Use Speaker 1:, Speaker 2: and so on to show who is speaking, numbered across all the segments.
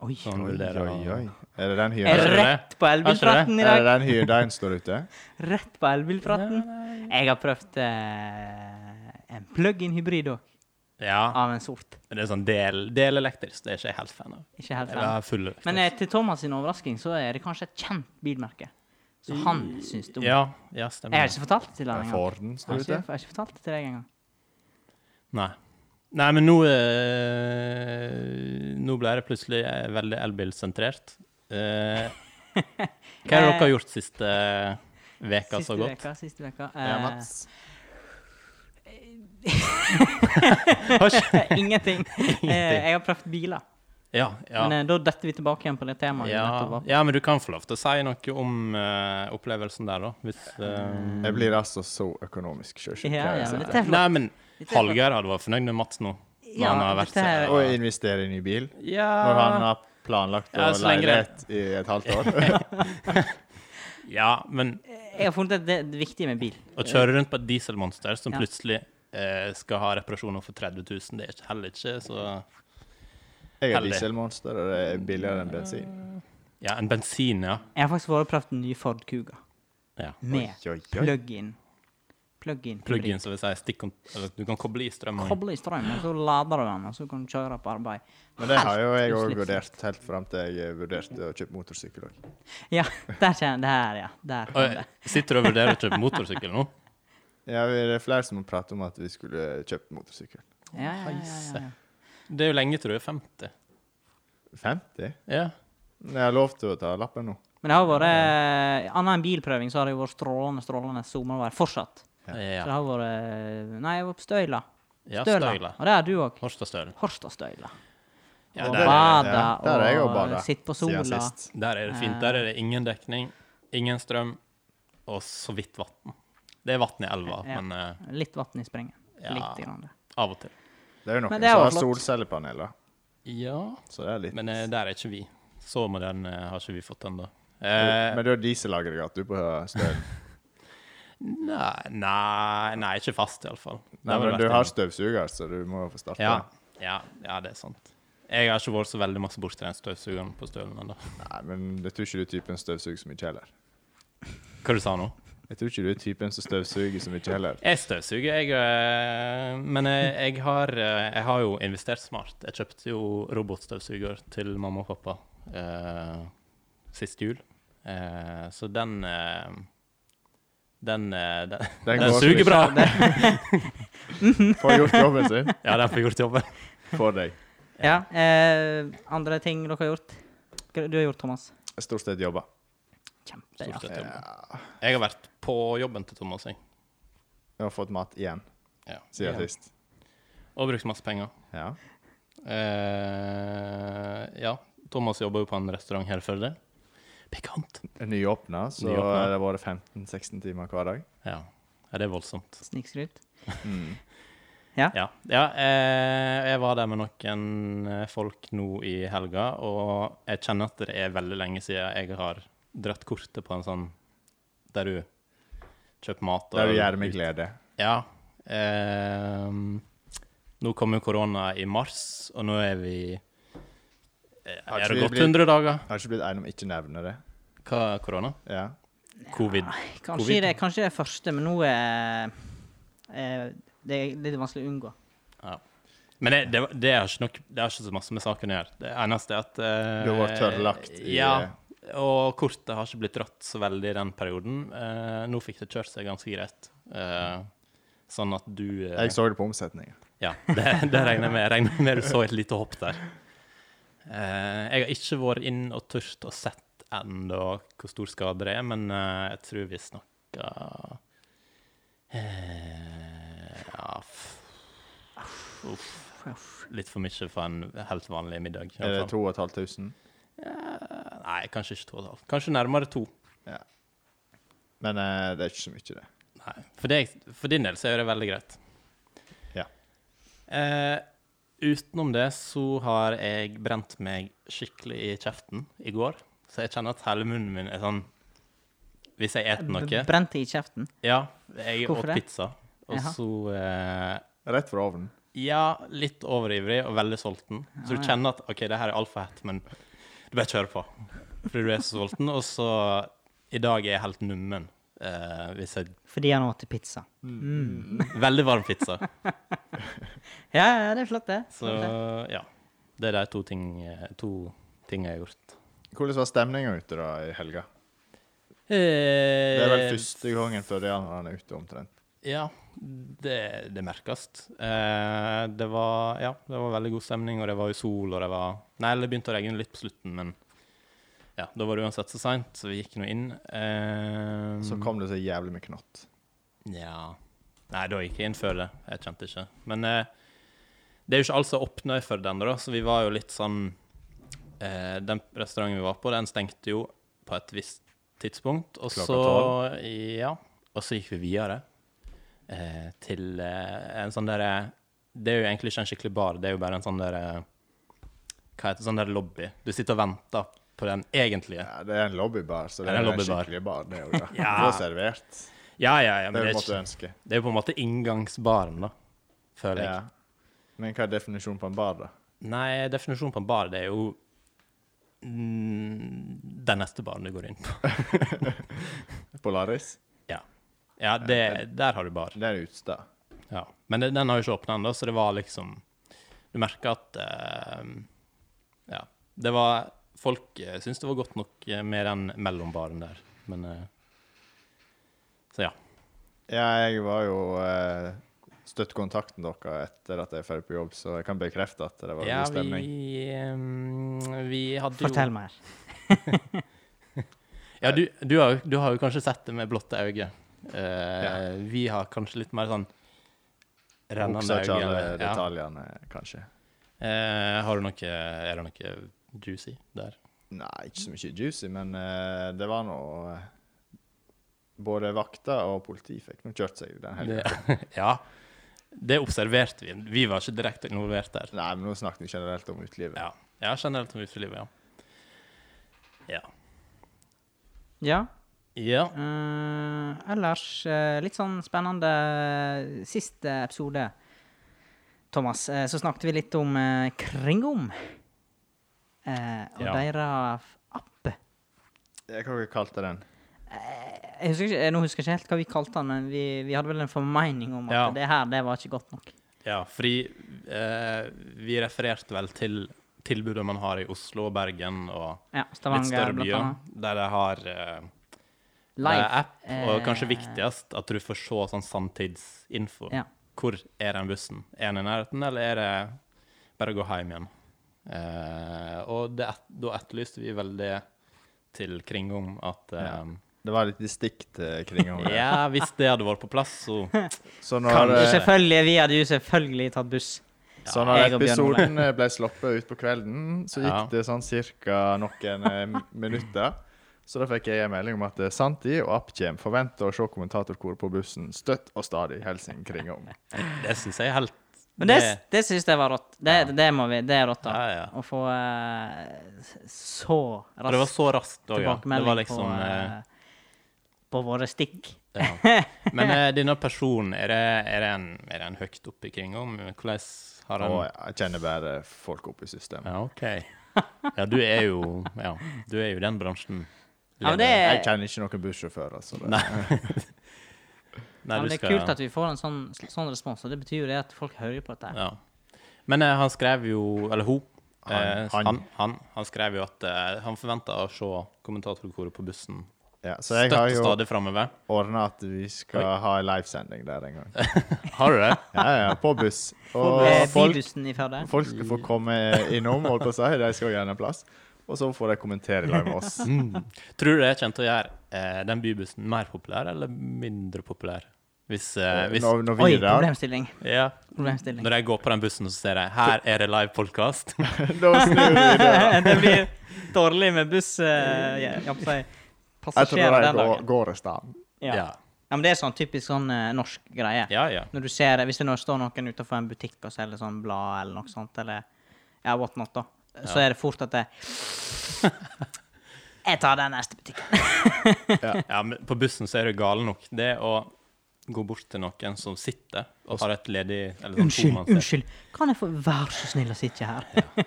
Speaker 1: Oi.
Speaker 2: Så han vurderer
Speaker 3: Oi,
Speaker 2: å
Speaker 3: oi. Er det den
Speaker 1: Er
Speaker 2: Er
Speaker 3: hyren?
Speaker 2: det
Speaker 1: rett på elbilpraten i
Speaker 3: Er det
Speaker 1: dag.
Speaker 3: den hyren der en står ute?
Speaker 1: Rett på elbilpraten. Jeg har prøvd eh, en plug-in hybrid òg,
Speaker 2: Ja,
Speaker 1: av en sort.
Speaker 2: det er sånn del, delelektrisk. Det er ikke jeg helt fan av.
Speaker 1: Ikke helt
Speaker 2: Jeg vil ha
Speaker 1: fan.
Speaker 2: full elektrisk.
Speaker 1: Men eh, til Thomas sin overrasking så er det kanskje et kjent bilmerke. Så han syns det om.
Speaker 2: Ja, ja,
Speaker 1: Jeg har
Speaker 2: stemmer.
Speaker 1: ikke fortalt det til han engang.
Speaker 3: Forden
Speaker 1: Jeg har
Speaker 3: står
Speaker 1: ikke,
Speaker 3: ute?
Speaker 1: jeg har ikke fortalt det til deg engang.
Speaker 2: Nei. Nei, men nå eh, Nå ble det plutselig eh, veldig elbilsentrert. Eh, hva er det dere har gjort siste eh, veka så
Speaker 1: Eh. Siste
Speaker 2: godt?
Speaker 1: veka, siste veka.
Speaker 3: Ja,
Speaker 1: eh,
Speaker 3: Mats.
Speaker 2: Har ikke-
Speaker 1: Ingenting. Eh, Jeg har prøvd biler.
Speaker 2: Ja, ja.
Speaker 1: Men eh, da detter vi tilbake igjen på det temaet. vi nettopp
Speaker 2: Ja,
Speaker 1: var på.
Speaker 2: ja, men du kan få lov til å si noe om eh, opplevelsen der, da. Hvis eh,
Speaker 3: Jeg blir altså så økonomisk sjøsjuk.
Speaker 1: Ja, ja, men
Speaker 3: Og
Speaker 1: dette er flott.
Speaker 2: Nei, men
Speaker 1: Dette er flott.
Speaker 2: Hallgeir hadde vært fornøyd med Mats nå. Når
Speaker 1: Ja,
Speaker 2: han har vært
Speaker 1: dette er-
Speaker 2: så-
Speaker 3: investere i ny bil. Når han
Speaker 2: Ja,
Speaker 3: har planlagt å
Speaker 2: Ja, så lenge det-
Speaker 3: leilighet i et halvt år.
Speaker 2: ja, men
Speaker 1: Jeg har funnet at det er viktig med bil.
Speaker 2: å kjøre rundt på et dieselmonster som
Speaker 1: Ja.
Speaker 2: plutselig eh, skal ha reparasjoner for 30 000, det er ikke- heller ikke så
Speaker 3: Jeg er
Speaker 2: Heldig.
Speaker 3: dieselmonster, og det er billigere enn bensin.
Speaker 2: Ja, en bensin, ja.
Speaker 1: Jeg har faktisk vært og prøvd den nye Ford Kuga
Speaker 2: ja.
Speaker 1: med
Speaker 3: Oi, oi, oi.
Speaker 1: plug-in. Plug-in.
Speaker 2: Plug-in, som vil si. Stikkon eller du kan koble i strømmen.
Speaker 1: Koble i strøm, og så lader du den, og så kan du kjøre på arbeid.
Speaker 3: Men det har jo jeg
Speaker 1: Helt
Speaker 3: òg
Speaker 1: uslipsomt.
Speaker 3: vurdert, helt fram til jeg vurderte å kjøpe motorsykkel òg.
Speaker 1: Ja, der kjenner det her, ja. Der kom
Speaker 2: Oi,
Speaker 1: det.
Speaker 2: Sitter du og vurderer å kjøpe motorsykkel nå?
Speaker 3: Ja, vi- det er flere som har pratet om at vi skulle kjøpt motorsykkel.
Speaker 1: Ja, ja, ja, ja,
Speaker 2: Heise.
Speaker 1: ja.
Speaker 2: Det er jo lenge til du er 50.
Speaker 3: 50?
Speaker 2: Ja.
Speaker 3: Men Jeg har lov til å ta lappen nå.
Speaker 1: Men det har vært Annet enn bilprøving, så har det jo vært strålende, strålende sommervær fortsatt.
Speaker 3: Ja.
Speaker 1: Så
Speaker 2: Ja,
Speaker 1: det har vært eh, Nei, jeg var på Støyla.
Speaker 2: ja
Speaker 1: Støyla.
Speaker 2: Støyla.
Speaker 1: Og det er du òg.
Speaker 2: Horstastølen.
Speaker 1: Horstastøyla.
Speaker 2: Ja,
Speaker 3: Og
Speaker 2: der,
Speaker 1: bad.
Speaker 2: er,
Speaker 1: Bada
Speaker 3: Ja, der er jeg
Speaker 1: og
Speaker 3: og bada.
Speaker 1: sitt på
Speaker 3: siden
Speaker 1: sola.
Speaker 3: sist.
Speaker 2: der er det fint. Der er det ingen dekning, ingen strøm og så vidt vann. Det er vann i elva,
Speaker 1: Ja.
Speaker 2: men eh,
Speaker 1: Litt vann i springen.
Speaker 2: Ja.
Speaker 1: Litt. Grann. det.
Speaker 2: av og til.
Speaker 3: Det er jo
Speaker 1: Men
Speaker 3: noen
Speaker 1: det er
Speaker 3: som
Speaker 1: jo
Speaker 3: har
Speaker 1: flott.
Speaker 3: solcellepaneler,
Speaker 2: Ja,
Speaker 3: så det er litt
Speaker 2: men eh, der er ikke vi. Så moderne har ikke vi fått ennå.
Speaker 3: Men
Speaker 2: Eh,
Speaker 3: du har dieselaggregat du på stølen.
Speaker 2: nei, nei, nei, ikke fast, iallfall.
Speaker 3: Nei, men du har støvsuger, så du må få starta.
Speaker 2: ja, ja, ja, det er sant. Jeg har ikke vært så veldig masse borti den støvsugeren på stølen ennå.
Speaker 3: Nei, men jeg tror ikke du er typen støvsuger så mye heller.
Speaker 2: Hva du sa du nå?
Speaker 3: Jeg tror ikke du er typen som støvsuger så mye heller.
Speaker 2: Jeg støvsuger, jeg. øh, Men jeg, jeg, har, øh, jeg har jo investert smart. Jeg kjøpte jo robotstøvsuger til mamma og pappa øh, sist jul. Eh, så den øh, Den, øh, den, den,
Speaker 3: Den går
Speaker 2: suger
Speaker 3: slik.
Speaker 2: bra.
Speaker 3: Får gjort jobben sin
Speaker 2: Ja, den får gjort jobben.
Speaker 3: for deg.
Speaker 1: Ja. Eh, andre ting dere har gjort? Hva Du har gjort, Thomas?
Speaker 3: Stort sett jobba.
Speaker 2: Stort
Speaker 1: Kjempeartig.
Speaker 2: sett jobben. Jeg har vært på jobben til Thomas, jeg.
Speaker 3: Jeg har fått mat igjen
Speaker 2: Ja.
Speaker 3: siden
Speaker 1: Ja.
Speaker 3: sist.
Speaker 2: Og brukt masse penger.
Speaker 3: Ja.
Speaker 2: Eh, ja. Thomas jobber jo på en restaurant her i Førde. Pikant.
Speaker 3: Nyåpna, så
Speaker 2: Nyåpna.
Speaker 3: har det har vært 15-16 timer hver dag. Mm.
Speaker 2: Ja. ja, det er voldsomt.
Speaker 1: Snikskryt.
Speaker 2: Ja. ja eh, jeg var der med noen eh, folk nå i helga, og jeg kjenner at det er veldig lenge siden jeg har dratt kortet på en sånn der du kjøper mat.
Speaker 3: Det gjør meg glede.
Speaker 2: Ja. ehm, nå kom jo korona i mars, og nå er vi eh,
Speaker 3: Har
Speaker 2: Er
Speaker 3: ikke
Speaker 2: det
Speaker 3: vi
Speaker 2: gått
Speaker 3: blitt-
Speaker 2: 100 dager?
Speaker 3: Jeg har ikke blitt enig om ikke å nevne det.
Speaker 2: Hva er korona?
Speaker 3: Ja.
Speaker 2: Covid.
Speaker 1: Kanskje
Speaker 2: Covid.
Speaker 1: det, kanskje det første, men nå er eh, Det er litt vanskelig å unngå.
Speaker 2: Men det, det, det, har ikke nok, det har ikke så masse med saken å gjøre. Det eneste er at eh,
Speaker 3: Du har vært tørrlagt i-
Speaker 2: Ja, og kortet har ikke blitt dratt så veldig i den perioden. Eh, nå fikk det kjørt seg ganske greit. Eh, sånn at du eh,
Speaker 3: Jeg så det på omsetningen.
Speaker 2: Ja, det, det regner jeg med. Jeg regner med du så et lite hopp der. Eh, jeg har ikke vært inn og turt og sett ennå hvor stor skade det er, men eh, jeg tror vi snakker eh, ja, f- Uff. Litt for mye for en helt vanlig middag. i
Speaker 3: Er det
Speaker 2: hvert fall.
Speaker 3: 2500?
Speaker 2: Ja, Nei, kanskje ikke to og et halvt. Kanskje nærmere to.
Speaker 3: Men eh, det er ikke så mye, det.
Speaker 2: Nei. For, deg, for din del så er det veldig greit.
Speaker 3: Ja.
Speaker 2: Eh, utenom det så har jeg brent meg skikkelig i kjeften i går. Så jeg kjenner at hele munnen min er sånn Hvis jeg eter noe
Speaker 1: Brente i kjeften.
Speaker 2: Ja, jeg
Speaker 1: Hvorfor
Speaker 2: åt
Speaker 1: det?
Speaker 2: pizza, og
Speaker 1: Jaha.
Speaker 2: så eh,
Speaker 3: Rett fra ovnen.
Speaker 2: Ja, litt overivrig og veldig sulten. Så
Speaker 1: Ah,
Speaker 2: du
Speaker 1: ja.
Speaker 2: kjenner at OK, det her er altfor hett, men du bare kjører på. Fordi du er så sulten. Og så I dag er jeg helt nummen. Eh, hvis jeg
Speaker 1: Fordi han åt pizza.
Speaker 2: Veldig varm pizza.
Speaker 1: Ja, ja, det er flott, det.
Speaker 2: Så
Speaker 1: Flott det.
Speaker 2: ja. Det er de to ting, eh, to ting jeg har gjort.
Speaker 3: Hvordan var stemninga ute da i helga?
Speaker 2: Eh,
Speaker 3: Det
Speaker 2: Det
Speaker 3: er vel første gangen før det han er ute, omtrent.
Speaker 2: Ja, det, det merkes. Eh, det var Ja, det var veldig god stemning, og det var jo sol, og det var Nei, det begynte å regne litt på slutten, men ja, da var det uansett så seint, så vi gikk nå inn. Eh,
Speaker 3: Så kom det så jævlig mye knott.
Speaker 2: Ja Nei, da gikk jeg inn før det. Jeg kjente ikke. Men eh, det er jo ikke alt som åpner for den, da, så vi var jo litt sånn eh, Den restauranten vi var på, den stengte jo på et visst tidspunkt, og
Speaker 3: Klokka
Speaker 2: så Ja. Og så gikk vi videre eh, til eh, en sånn derre Det er jo egentlig ikke en skikkelig bar, det er jo bare en sånn derre Hva heter det? Sånn der lobby. Du sitter og venter på den egentlige.
Speaker 3: Ja, det er en lobbybar, så det
Speaker 2: Ja,
Speaker 3: er
Speaker 2: det er
Speaker 3: en
Speaker 2: lobbybar.
Speaker 3: skikkelig bar. Det er jo det.
Speaker 2: Ja.
Speaker 3: Du får servert.
Speaker 2: Ja, ja, ja,
Speaker 3: Det
Speaker 2: men det
Speaker 3: er
Speaker 2: er,
Speaker 3: måtte
Speaker 2: ikke,
Speaker 3: ønske.
Speaker 2: det er jo på en måte inngangsbaren, da, føler jeg.
Speaker 3: Ja. Men hva er definisjonen på en bar, da?
Speaker 2: Nei, definisjonen på en bar, det er jo mm, den neste baren du går inn på.
Speaker 3: Polaris?
Speaker 2: Ja, ja det, der har du bar.
Speaker 3: Det er Utstad.
Speaker 2: Ja. Men det, den har jo ikke åpna ennå, så det var liksom Du merker at eh, Ja. Det var Folk uh, syntes det var godt nok eh, med den mellombaren der, men eh, Så ja.
Speaker 3: Ja, jeg var jo eh, støttekontakten deres etter at jeg er ferdig på jobb, så jeg kan bekrefte at det var
Speaker 2: ja
Speaker 3: god
Speaker 2: vi,
Speaker 3: stemning.
Speaker 2: eh, vi hadde
Speaker 1: Fortell mer.
Speaker 2: jo Ja, du, du, har, jo- du har jo kanskje sett det med blotte øyne. Eh, Vi har kanskje litt mer sånn rennende
Speaker 3: Husker ikke
Speaker 2: øyne.
Speaker 3: alle
Speaker 2: eller- Ja.
Speaker 3: detaljene, kanskje.
Speaker 2: Eh, har du noe Er det noe juicy der?
Speaker 3: Nei, ikke så mye juicy, men eh, det var nå eh, Både vakter og politi fikk nå kjørt seg den helga.
Speaker 2: Det, ja. Det observerte vi. Vi var ikke direkte involvert der.
Speaker 3: Nei, men nå snakket vi generelt om utelivet.
Speaker 2: Ja, ja generelt om utelivet, ja.
Speaker 1: Ja.
Speaker 2: Ja. ja.
Speaker 1: eh, ellers eh, litt sånn spennende eh, siste episode, Thomas, eh, så snakket vi litt om eh, Kringom eh, og
Speaker 2: Ja.
Speaker 1: deres app.
Speaker 3: Hva kalte dere kalt den?
Speaker 1: Jeg husker ikke, nå husker jeg ikke helt hva vi kalte den, men vi, vi hadde vel en formening om at
Speaker 2: Ja.
Speaker 1: det her det var ikke godt nok.
Speaker 2: fordi eh, vi refererte vel til tilbudet man har i Oslo og Bergen og
Speaker 1: Ja,
Speaker 2: litt
Speaker 1: Stavanger,
Speaker 2: større
Speaker 1: blant
Speaker 2: byer,
Speaker 1: annet.
Speaker 2: der de har eh,
Speaker 1: Live.
Speaker 2: eh, app, og kanskje
Speaker 1: eh,
Speaker 2: viktigst at du får se sånn sanntidsinfo.
Speaker 1: Ja.
Speaker 2: Hvor er den bussen? Er den i nærheten, eller er det bare å gå hjem igjen? Eh, og det, et- da etterlyste vi vel det til Kringom, at eh,
Speaker 3: Det var litt distinkt eh, kring om
Speaker 2: ja.
Speaker 3: det.
Speaker 2: hvis det hadde vært på plass, så
Speaker 3: Så
Speaker 2: Kan
Speaker 3: når,
Speaker 2: du
Speaker 1: Jo,
Speaker 3: eh,
Speaker 1: selvfølgelig, vi hadde jo selvfølgelig tatt buss.
Speaker 2: Sånn
Speaker 3: Så
Speaker 1: jeg og
Speaker 3: når
Speaker 1: Bjørn
Speaker 3: episoden eh, ble sluppet ut på kvelden, så gikk
Speaker 2: Ja.
Speaker 3: det sånn cirka noen eh, m- minutter. Så da fikk jeg en melding om at eh, Santi og App kommer. Forventer å se kommentatorkoret på bussen støtt og stadig. Hilsen Kringom.
Speaker 2: det syns jeg er helt
Speaker 1: Men det, det syns jeg var rått. Det, det må vi, det er rått, da.
Speaker 2: Ja, ja.
Speaker 1: Å få eh, s- så
Speaker 2: Og det var
Speaker 1: rask
Speaker 2: så raskt òg, ja. Det var
Speaker 1: tilbakemelding
Speaker 2: liksom
Speaker 1: på,
Speaker 2: eh,
Speaker 1: eh, på våre stikk.
Speaker 2: ja. Men eh, denne personen, er det, er det, en, er det en høyt oppe i Kringom? Hvordan har han
Speaker 3: Og jeg kjenner bare folk oppe i systemet.
Speaker 2: Ja, OK. Ja, du er jo Ja, du er jo i den bransjen.
Speaker 1: Ja, men det er-
Speaker 3: Jeg kjenner ikke noen bussjåfør. Altså.
Speaker 2: Eh, Nei.
Speaker 1: Ja,
Speaker 2: Nei,
Speaker 1: men
Speaker 2: du
Speaker 1: det er
Speaker 2: skal
Speaker 1: kult at vi får en sånn, sånn respons, og det betyr jo det at folk hører på dette. her.
Speaker 2: Ja. Men eh, han skrev jo Eller hun.
Speaker 3: Han-
Speaker 2: eh,
Speaker 3: han.
Speaker 2: han, han, han skrev jo at eh, han forventa å se kommentatorkoret på bussen
Speaker 3: Ja, så jeg
Speaker 2: støtt
Speaker 3: har
Speaker 2: og
Speaker 3: jo
Speaker 2: stadig framover.
Speaker 3: ordna at vi skal ha en livesending der en gang.
Speaker 2: Har du det?
Speaker 3: Ja, ja, på buss. Og
Speaker 1: Eh,
Speaker 3: folk
Speaker 1: Bybussen i Førde.
Speaker 3: Folk skal få komme innom, holdt på å si. De skal gjerne ha plass. Og så får de kommentere i lag med oss.
Speaker 2: Mm. Tror du det kommer til å gjøre eh, den bybussen mer populær eller mindre populær? Hvis, eh, hvis
Speaker 3: Når, når vi
Speaker 1: Oi,
Speaker 3: er der,
Speaker 1: problemstilling.
Speaker 2: ja,
Speaker 1: problemstilling.
Speaker 2: Når jeg går på den bussen, så ser jeg her er det live podcast
Speaker 3: da snur vi døra.
Speaker 1: det blir dårlig med buss eh, ja, jeg holdt på å si,
Speaker 3: Jeg tror
Speaker 1: passasjerer
Speaker 3: de
Speaker 1: den
Speaker 3: går,
Speaker 1: dagen.
Speaker 3: går i stand.
Speaker 1: Ja.
Speaker 2: ja.
Speaker 1: ja, men det er sånn typisk sånn eh, norsk greie.
Speaker 2: ja, ja.
Speaker 1: Når du ser, Hvis det nå står noen utenfor en butikk og selger sånn blad eller noe sånt, eller ja, what not, da, så er det fort at det Jeg tar den neste butikken.
Speaker 2: Ja, men på bussen så er du gal nok. Det å gå bort til noen som sitter og har et ledig eller sånn
Speaker 1: Unnskyld,
Speaker 2: tomannssete.
Speaker 1: unnskyld. Kan jeg få være så snill å sitte her?
Speaker 2: Ja,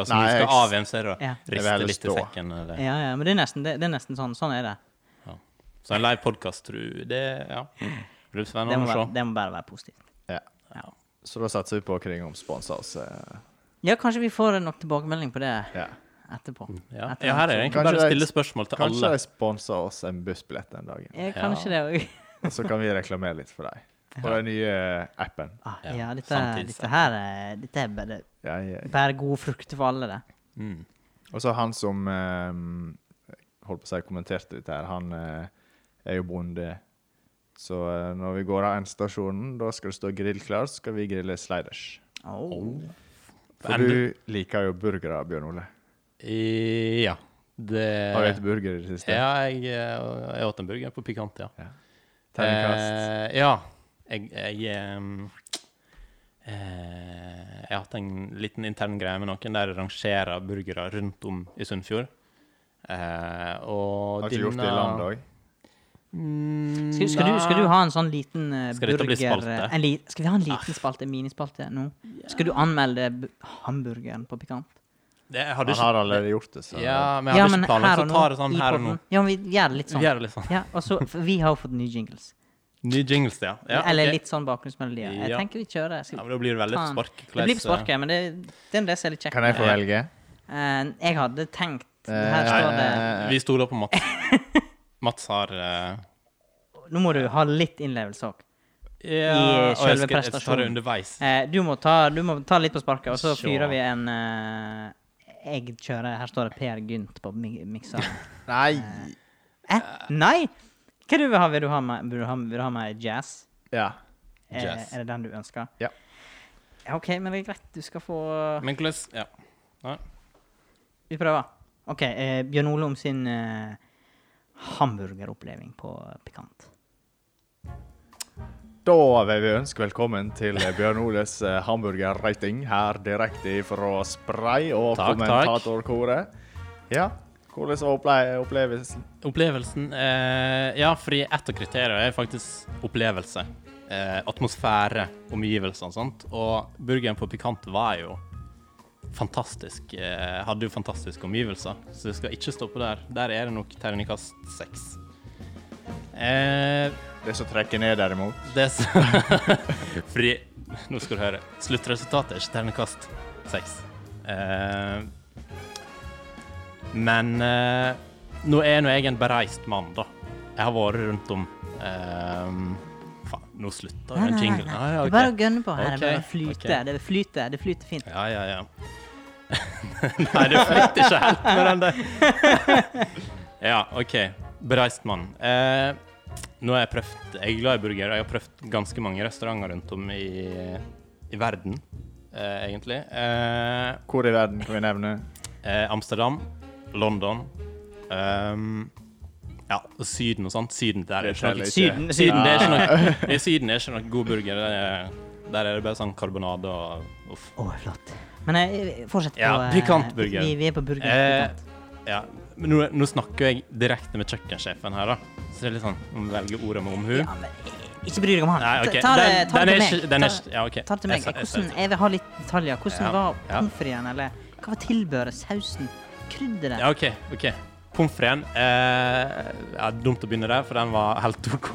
Speaker 2: og så
Speaker 3: Nei,
Speaker 2: når du skal
Speaker 3: jeg-
Speaker 2: av igjen, så er det å
Speaker 1: Ja.
Speaker 3: Jeg vil
Speaker 2: riste
Speaker 3: heller
Speaker 2: litt i
Speaker 3: stå.
Speaker 2: sekken. Eller.
Speaker 1: Ja, ja, men det er nesten, det, det er nesten sånn. Sånn er det.
Speaker 2: Ja. Så en live podkast, tror jeg, det Ja. Det blir
Speaker 1: Det må,
Speaker 2: spennende
Speaker 1: være,
Speaker 2: å se.
Speaker 1: det må bare være positivt.
Speaker 3: Ja.
Speaker 1: Ja.
Speaker 3: Så da satser vi på Kringom sponser oss. eh,
Speaker 1: ja, kanskje vi får nok tilbakemelding på det
Speaker 3: Ja.
Speaker 1: etterpå.
Speaker 2: Ja.
Speaker 1: Etter
Speaker 2: ja, her er det
Speaker 1: den
Speaker 2: egentlig
Speaker 3: Kanskje
Speaker 2: bare å
Speaker 3: det-
Speaker 2: stille spørsmål til
Speaker 3: Kanskje
Speaker 2: alle.
Speaker 3: de sponser oss en bussbillett den dagen.
Speaker 1: Ja, kanskje det òg.
Speaker 3: Og så kan vi reklamere litt for dem. Og den nye appen.
Speaker 1: Ah,
Speaker 2: Ja,
Speaker 1: ja, dette,
Speaker 2: samtidig.
Speaker 1: dette her er- Dette er bare,
Speaker 3: Ja, ja.
Speaker 1: bare gode frukter for alle, det.
Speaker 2: Mm.
Speaker 3: Og så han som eh, holdt på å si kommenterte dette her, han eh, er jo bonde. Så eh, når vi går av endestasjonen, da skal det stå grill klar, så skal vi grille sliders.
Speaker 1: Oh.
Speaker 3: For du liker jo burgere, Bjørn Ole.
Speaker 2: I- Ja. Det
Speaker 3: Har du spist burger i det siste?
Speaker 2: Eh, Ja, jeg, eh, jeg åt en burger på Pikant, ja.
Speaker 3: Ja. Terningkast.
Speaker 2: Eh, ja. Jeg, jeg ehm, eh, Jeg har hatt en liten intern greie med noen der jeg rangerer burgere rundt om i Sunnfjord. Eh, og
Speaker 3: Har ikke gjort det i land òg?
Speaker 2: Mm,
Speaker 1: Skal, skal, du, skal du ha en sånn liten eh,
Speaker 2: Skal dette
Speaker 1: burger eh,
Speaker 2: bli spalte? Ah.
Speaker 1: en li, Skal vi ha en liten spalte, minispalte, nå? Skal du anmelde bu- hamburgeren på Pikant?
Speaker 2: Det, jeg hadde
Speaker 3: Han
Speaker 2: ikke,
Speaker 3: har allerede gjort det, så
Speaker 2: ja, men jeg hadde ikke planlagt å ta det sånn
Speaker 1: i
Speaker 2: her og nå.
Speaker 1: podden. Ja, men vi gjør det litt
Speaker 2: Vi
Speaker 1: sånn.
Speaker 2: gjør det litt sånn.
Speaker 1: Ja, og så, for vi har jo fått nye jingles.
Speaker 2: Ny jingles, ja. ja
Speaker 1: Eller
Speaker 2: ok.
Speaker 1: litt sånn bakgrunnsmelodier. Jeg
Speaker 2: Ja.
Speaker 1: tenker vi kjører.
Speaker 2: ja,
Speaker 1: Skal,
Speaker 2: men Da blir det veldig
Speaker 1: Faen.
Speaker 2: spark.
Speaker 1: det blir på sparket, men det, det er det som er litt kjekt.
Speaker 3: Kan jeg få
Speaker 2: Ja.
Speaker 3: velge?
Speaker 1: Eh, jeg hadde tenkt Her står det
Speaker 3: Eh,
Speaker 2: Vi stoler på Mats. Mats har eh,
Speaker 1: Nå må du ha litt innlevelse òg.
Speaker 2: ja, og jeg
Speaker 1: selve
Speaker 2: skal- Jeg tar det
Speaker 1: prestasjonen.
Speaker 2: underveis.
Speaker 1: Eh, du, må ta- du må ta litt på sparket, og så
Speaker 2: Sjå.
Speaker 1: fyrer vi en eh, Jeg kjører Her står det Per Gynt på mi- mikseren.
Speaker 3: Nei!
Speaker 1: Eh, nei! Hva du vil ha? Vil du ha med, vil du ha, vil du ha med jazz?
Speaker 3: Ja.
Speaker 1: Eh,
Speaker 2: Jazz.
Speaker 1: Er det den du ønsker?
Speaker 3: Ja.
Speaker 1: Ja, OK, men det er greit. Du skal få
Speaker 2: Men hvordan Ja. Nei.
Speaker 1: Vi prøver. OK. Eh, Bjørn Ole om sin eh, hamburgeroppleving på Pikant.
Speaker 3: Da vil vi ønske velkommen til Bjørn Oles eh, hamburgerrating her direkte fra Spray
Speaker 2: Takk,
Speaker 3: og
Speaker 2: takk.
Speaker 3: kommentatorkoret. Ja, hvordan var opple- opplevelsen?
Speaker 2: Opplevelsen eh, Ja, fordi ett av kriteriene er faktisk opplevelse. Eh, atmosfære, omgivelser og sånt. Og burgeren på Pikant var jo fantastisk. Eh, hadde jo fantastiske omgivelser, så det skal ikke stoppe der. Der er det nok terningkast seks. Eh,
Speaker 3: Det som trekker ned, derimot.
Speaker 2: det som Fordi Nå skal du høre. Sluttresultatet er ikke terningkast seks. Eh, men eh, nå er nå jeg en bereist mann, da. Jeg har vært rundt om eh, Faen, nå slutta jo den jinglen. Ah, ja, ok.
Speaker 1: Det er bare å gønne på. Her
Speaker 2: Ok,
Speaker 1: er det bare å flyte.
Speaker 2: ok.
Speaker 1: Det flyter det flyter fint.
Speaker 2: Ja, ja, ja. Nei, det flytter ikke helt med den der. ja, OK. Bereist mann. Eh, nå har jeg prøvd Jeg er glad i burger. og Jeg har prøvd ganske mange restauranter rundt om i, i verden, eh, egentlig. Eh,
Speaker 3: Hvor i verden kan vi nevne?
Speaker 2: eh, Amsterdam, London ehm, Ja, og Syden og sånt. Syden der er
Speaker 3: Det
Speaker 2: ikke noe
Speaker 3: teller ikke.
Speaker 1: Syden,
Speaker 2: Syden,
Speaker 1: syden.
Speaker 2: det er ikke noe, i Syden er ikke noe god burger. Det er- Der er det bare sånn karbonade og uff.
Speaker 1: Å, flott. Men eh, fortsett på
Speaker 2: Ja,
Speaker 1: eh,
Speaker 2: pikantburger.
Speaker 1: Vi, vi er på burger.
Speaker 2: Eh,
Speaker 1: pikant.
Speaker 2: ja. Men nå, nå snakker jeg direkte med kjøkkensjefen her, da. Så det er litt sånn om velge ordet med omhu.
Speaker 1: Ja, men eh, ikke bry deg om han.
Speaker 2: Nei, OK.
Speaker 1: Ta ta det,
Speaker 2: Den-
Speaker 1: ta det
Speaker 2: den er
Speaker 1: til
Speaker 2: ikke-
Speaker 1: meg.
Speaker 2: Den er
Speaker 1: Ta-
Speaker 2: ikke Ja, OK.
Speaker 1: Ta det til meg.
Speaker 2: Jeg sa- jeg sa-
Speaker 1: Hvordan, jeg vil ha litt detaljer. Hvordan
Speaker 2: Ja,
Speaker 1: var
Speaker 2: ja.
Speaker 1: pommes fritesen? Eller hva var tilbehøret? Sausen? Krydderet?
Speaker 2: Ja, OK. ok. Pommes fritesen eh, ja, Dumt å begynne der, for den var helt OK.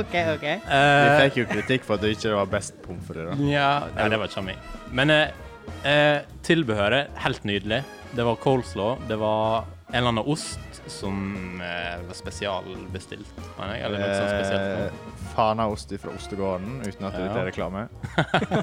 Speaker 1: OK, OK.
Speaker 3: Vi
Speaker 2: Eh,
Speaker 3: fikk jo kritikk for at det ikke var best pommes frites. da.
Speaker 2: ja, nei, det var ikke meg. Men eh, eh, tilbehøret helt nydelig. Det var coleslaw. Det var en eller annen ost som eh, var spesialbestilt, mener jeg. Eller noe sånt spesielt.
Speaker 3: Eh, Fanaost fra Ostegården, uten at det
Speaker 2: Ja.
Speaker 3: er reklame.
Speaker 1: Ja,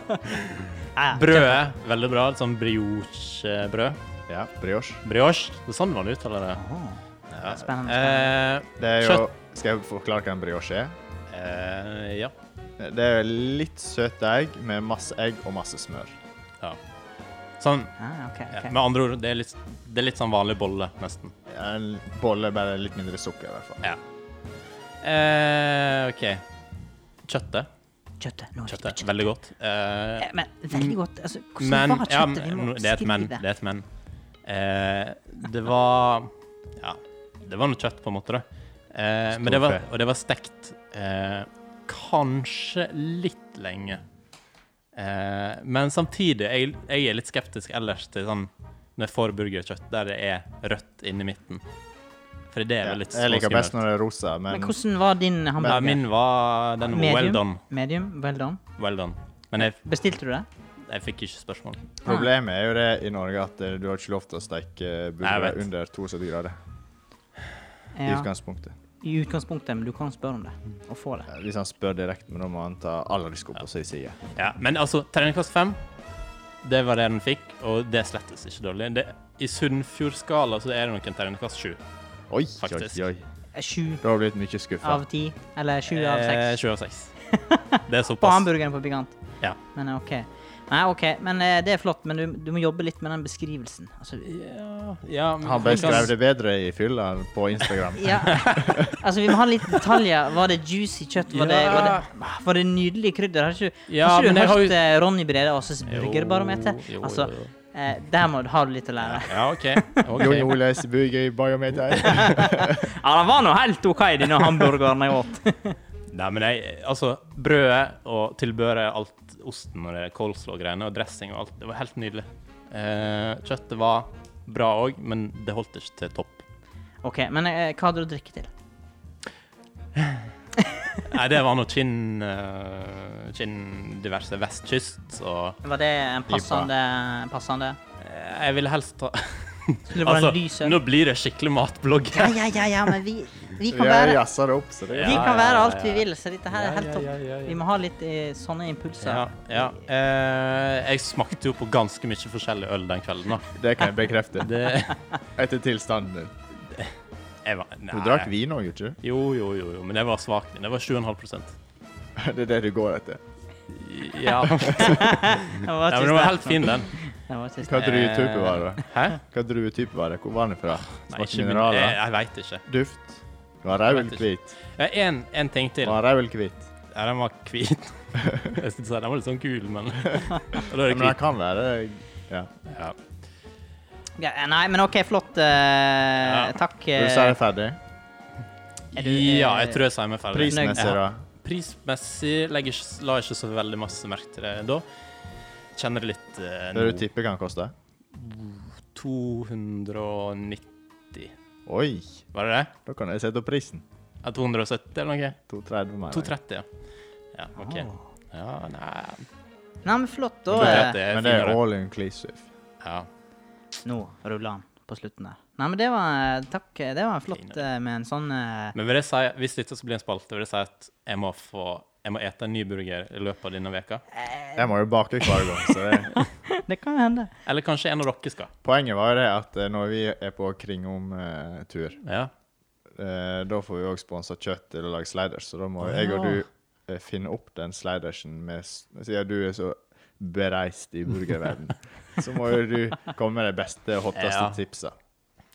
Speaker 1: ja.
Speaker 2: Brødet, veldig bra. Et sånn brioche-brød.
Speaker 3: Ja, brioche.
Speaker 2: Brioche. Det er sånn man uttaler det.
Speaker 1: Åh, Spennende. spennende.
Speaker 2: Eh,
Speaker 3: Det er jo Skal jeg forklare hva en brioche er?
Speaker 2: eh, Eh, ja.
Speaker 3: Det er litt søt egg med masse egg og masse smør.
Speaker 2: ja. Sånn.
Speaker 1: Ah, ok,
Speaker 2: Ja.
Speaker 1: ok.
Speaker 2: Med andre ord, det er litt, det er litt sånn vanlig bolle, nesten.
Speaker 3: En bolle bare litt mindre sukker, i hvert fall.
Speaker 2: Ja. Eh, OK. Kjøttet.
Speaker 1: Kjøttet. Nå er det
Speaker 2: Kjøttet.
Speaker 1: kjøttet.
Speaker 2: Veldig godt. Eh,
Speaker 1: Eh, Men veldig godt. Altså, hvordan
Speaker 2: Men
Speaker 1: var
Speaker 2: ja,
Speaker 1: kjøttet? Vi må
Speaker 2: men, Det er et
Speaker 1: beskrive
Speaker 2: men. Det er et men. Eh, det var Ja, det var noe kjøtt, på en måte, da. Eh, men det var,
Speaker 3: fe.
Speaker 2: og det var stekt eh, kanskje litt lenge. Eh, men samtidig, jeg, jeg er litt skeptisk ellers til sånn når jeg får burgerkjøtt der det er rødt inni midten. For det er
Speaker 3: Ja,
Speaker 2: vel litt
Speaker 3: jeg liker best
Speaker 2: småskummelt.
Speaker 3: når det er rosa, men,
Speaker 1: Men hvordan var din
Speaker 2: Ja,
Speaker 1: hamburger?
Speaker 2: min var Den var well done.
Speaker 1: Medium? Well done.
Speaker 2: Well done. Men jeg,
Speaker 1: Bestilte du det?
Speaker 2: jeg fikk ikke spørsmål.
Speaker 3: problemet er jo det i Norge at eh, du har ikke lov til å steke
Speaker 2: Jeg vet.
Speaker 3: burgere under 72 grader. I
Speaker 1: Ja,
Speaker 3: utgangspunktet.
Speaker 1: I utgangspunktet, men du kan spørre om det og få det.
Speaker 3: Ja, Hvis han spør direkte, men da må han ta all risiko på sin side.
Speaker 2: Ja, men altså, terningkast fem, det var det den fikk, og det er slettes ikke dårlig. Det, I Sunnfjordskala så er det nok en terningkast sju.
Speaker 3: Oi, oi,
Speaker 2: Faktisk.
Speaker 3: oi.
Speaker 1: Eh, Sju
Speaker 3: Da har jeg blitt mye skuffa.
Speaker 1: av ti? Eller sju av seks?
Speaker 2: Eh, Sju av seks. Det er
Speaker 1: På
Speaker 2: såpass.
Speaker 1: hamburgeren på Gigant.
Speaker 2: Ja.
Speaker 1: Men eh, OK. Nei, OK, men eh, det er flott, men du, du må jobbe litt med den beskrivelsen. Altså,
Speaker 2: Ja, ja, men-
Speaker 3: Han beskrev det bedre i fylla på Instagram.
Speaker 1: ja. altså, vi må ha litt detaljer. Var det juicy kjøtt? Var, det, var, det, var det nydelig krydder? Har ikke,
Speaker 2: Ja,
Speaker 1: har ikke
Speaker 2: men
Speaker 1: du
Speaker 2: jeg har
Speaker 1: hørt
Speaker 2: jo-
Speaker 1: eh, Ronny Brede Aases
Speaker 2: Jo,
Speaker 1: burgerbarometer?
Speaker 2: jo,
Speaker 1: Altså,
Speaker 2: jo, jo.
Speaker 1: eh, der må du ha du litt å lære.
Speaker 2: Ja, OK. ok.
Speaker 3: Jon Oles burger i Biometer.
Speaker 1: Ja, den var nå helt OK, denne hamburgeren jeg åt.
Speaker 2: Nei, men jeg Altså, brødet og tilbehøret, alt osten og det coleslaw-greiene og dressing og alt, det var helt nydelig. Eh, kjøttet var bra òg, men det holdt ikke til topp.
Speaker 1: OK, men eh, hva hadde du drikke til?
Speaker 2: Nei, det var noe kinn eh, Kinn diverse vestkyst og
Speaker 1: Var det en passende, passende?
Speaker 2: Eh, Jeg ville helst ta
Speaker 1: Skulle det være en lys
Speaker 2: Altså,
Speaker 1: øl?
Speaker 2: nå blir det skikkelig matblogg.
Speaker 1: Ja, ja, ja, ja, men vi, vi
Speaker 3: Vi
Speaker 1: kan
Speaker 3: har
Speaker 1: være
Speaker 3: jazza det opp, så det er
Speaker 1: Vi
Speaker 2: Ja,
Speaker 1: kan være
Speaker 2: ja,
Speaker 1: alt vi
Speaker 2: ja.
Speaker 1: vil, så dette her er
Speaker 2: Ja,
Speaker 1: helt
Speaker 2: ja,
Speaker 1: topp.
Speaker 2: ja, ja, ja.
Speaker 1: Vi må ha litt eh, sånne
Speaker 2: Ja,
Speaker 1: impulser.
Speaker 2: ja. Eh, jeg smakte jo på ganske mye forskjellig øl den kvelden, da.
Speaker 3: Det kan jeg bekrefte.
Speaker 2: Det
Speaker 3: Etter tilstanden din.
Speaker 2: jeg var, nei.
Speaker 3: Du drakk vin òg, gjorde du
Speaker 2: Jo, jo, jo, jo, men det var svakt. Det var 7,5
Speaker 3: ikke? Det er det du går etter.
Speaker 2: Ja, nei,
Speaker 1: Det var
Speaker 2: men
Speaker 1: ikke
Speaker 2: den var
Speaker 1: sterkt
Speaker 2: helt
Speaker 1: nok.
Speaker 2: fin, den. Eh,
Speaker 1: Det var ikke
Speaker 3: Hva
Speaker 1: sterkt.
Speaker 3: druetype var det?
Speaker 2: Hæ?
Speaker 3: Hva druetype var det? Hvor var den fra?
Speaker 2: Nei,
Speaker 3: Smakte
Speaker 2: ikke min. Jeg,
Speaker 3: mineraler?
Speaker 2: jeg veit ikke.
Speaker 3: Duft? Den var rød
Speaker 2: Jeg
Speaker 3: eller
Speaker 2: vet
Speaker 3: hvit?
Speaker 2: Ja, en, en ting til.
Speaker 3: Den var rød eller hvit?
Speaker 2: Ja, den var hvit. Jeg skulle si den var litt sånn gul, men Og da
Speaker 3: Ja,
Speaker 2: er det
Speaker 3: Men den
Speaker 2: hvit.
Speaker 3: kan være ja.
Speaker 2: Ja.
Speaker 1: Ja, nei, men OK, flott. eh, Takk.
Speaker 3: Vil
Speaker 1: eh,
Speaker 3: du si det ferdig?
Speaker 1: Er du, eh,
Speaker 2: ja, jeg tror jeg sier meg ferdig.
Speaker 3: Prismessig, da?
Speaker 2: Prismessig legger, ikke- la jeg ikke så veldig masse merke til det da. Kjenner det litt eh,
Speaker 3: Det du
Speaker 2: nå.
Speaker 3: tipper kan koste?
Speaker 2: 290
Speaker 3: Oi,
Speaker 2: Var det det?
Speaker 3: da kan jeg sette opp prisen.
Speaker 2: Ja, 270 eller noe?
Speaker 3: 2,30 mer.
Speaker 2: 230, ja. Ja, OK.
Speaker 1: Ah.
Speaker 2: Ja, nei
Speaker 1: Nei, men flott, da.
Speaker 2: Men
Speaker 1: eh,
Speaker 2: det- det er
Speaker 3: Men det er
Speaker 2: finere.
Speaker 3: all inclusive.
Speaker 2: Ja.
Speaker 1: Nå ruller han på slutten der. Nei, men det var eh, Takk. Det var flott eh, med en sånn eh,
Speaker 2: Men vil jeg si, hvis dette skal bli en spalte, vil jeg si at jeg må få jeg må ete en ny burger i løpet av denne veka.
Speaker 3: Jeg må jo bake hver gang, så det.
Speaker 1: Det kan jo hende.
Speaker 2: Eller kanskje en av dere skal.
Speaker 3: Poenget var jo det at eh, når vi er på kringom-tur,
Speaker 2: Ja.
Speaker 3: Eh, da får vi òg sponsa kjøtt til å lage sliders, så da må jeg og du eh, finne opp den slidersen med s- Siden du er så bereist i burgerverden, så må jo du komme med de beste, hotteste
Speaker 2: Ja.
Speaker 3: tipsa.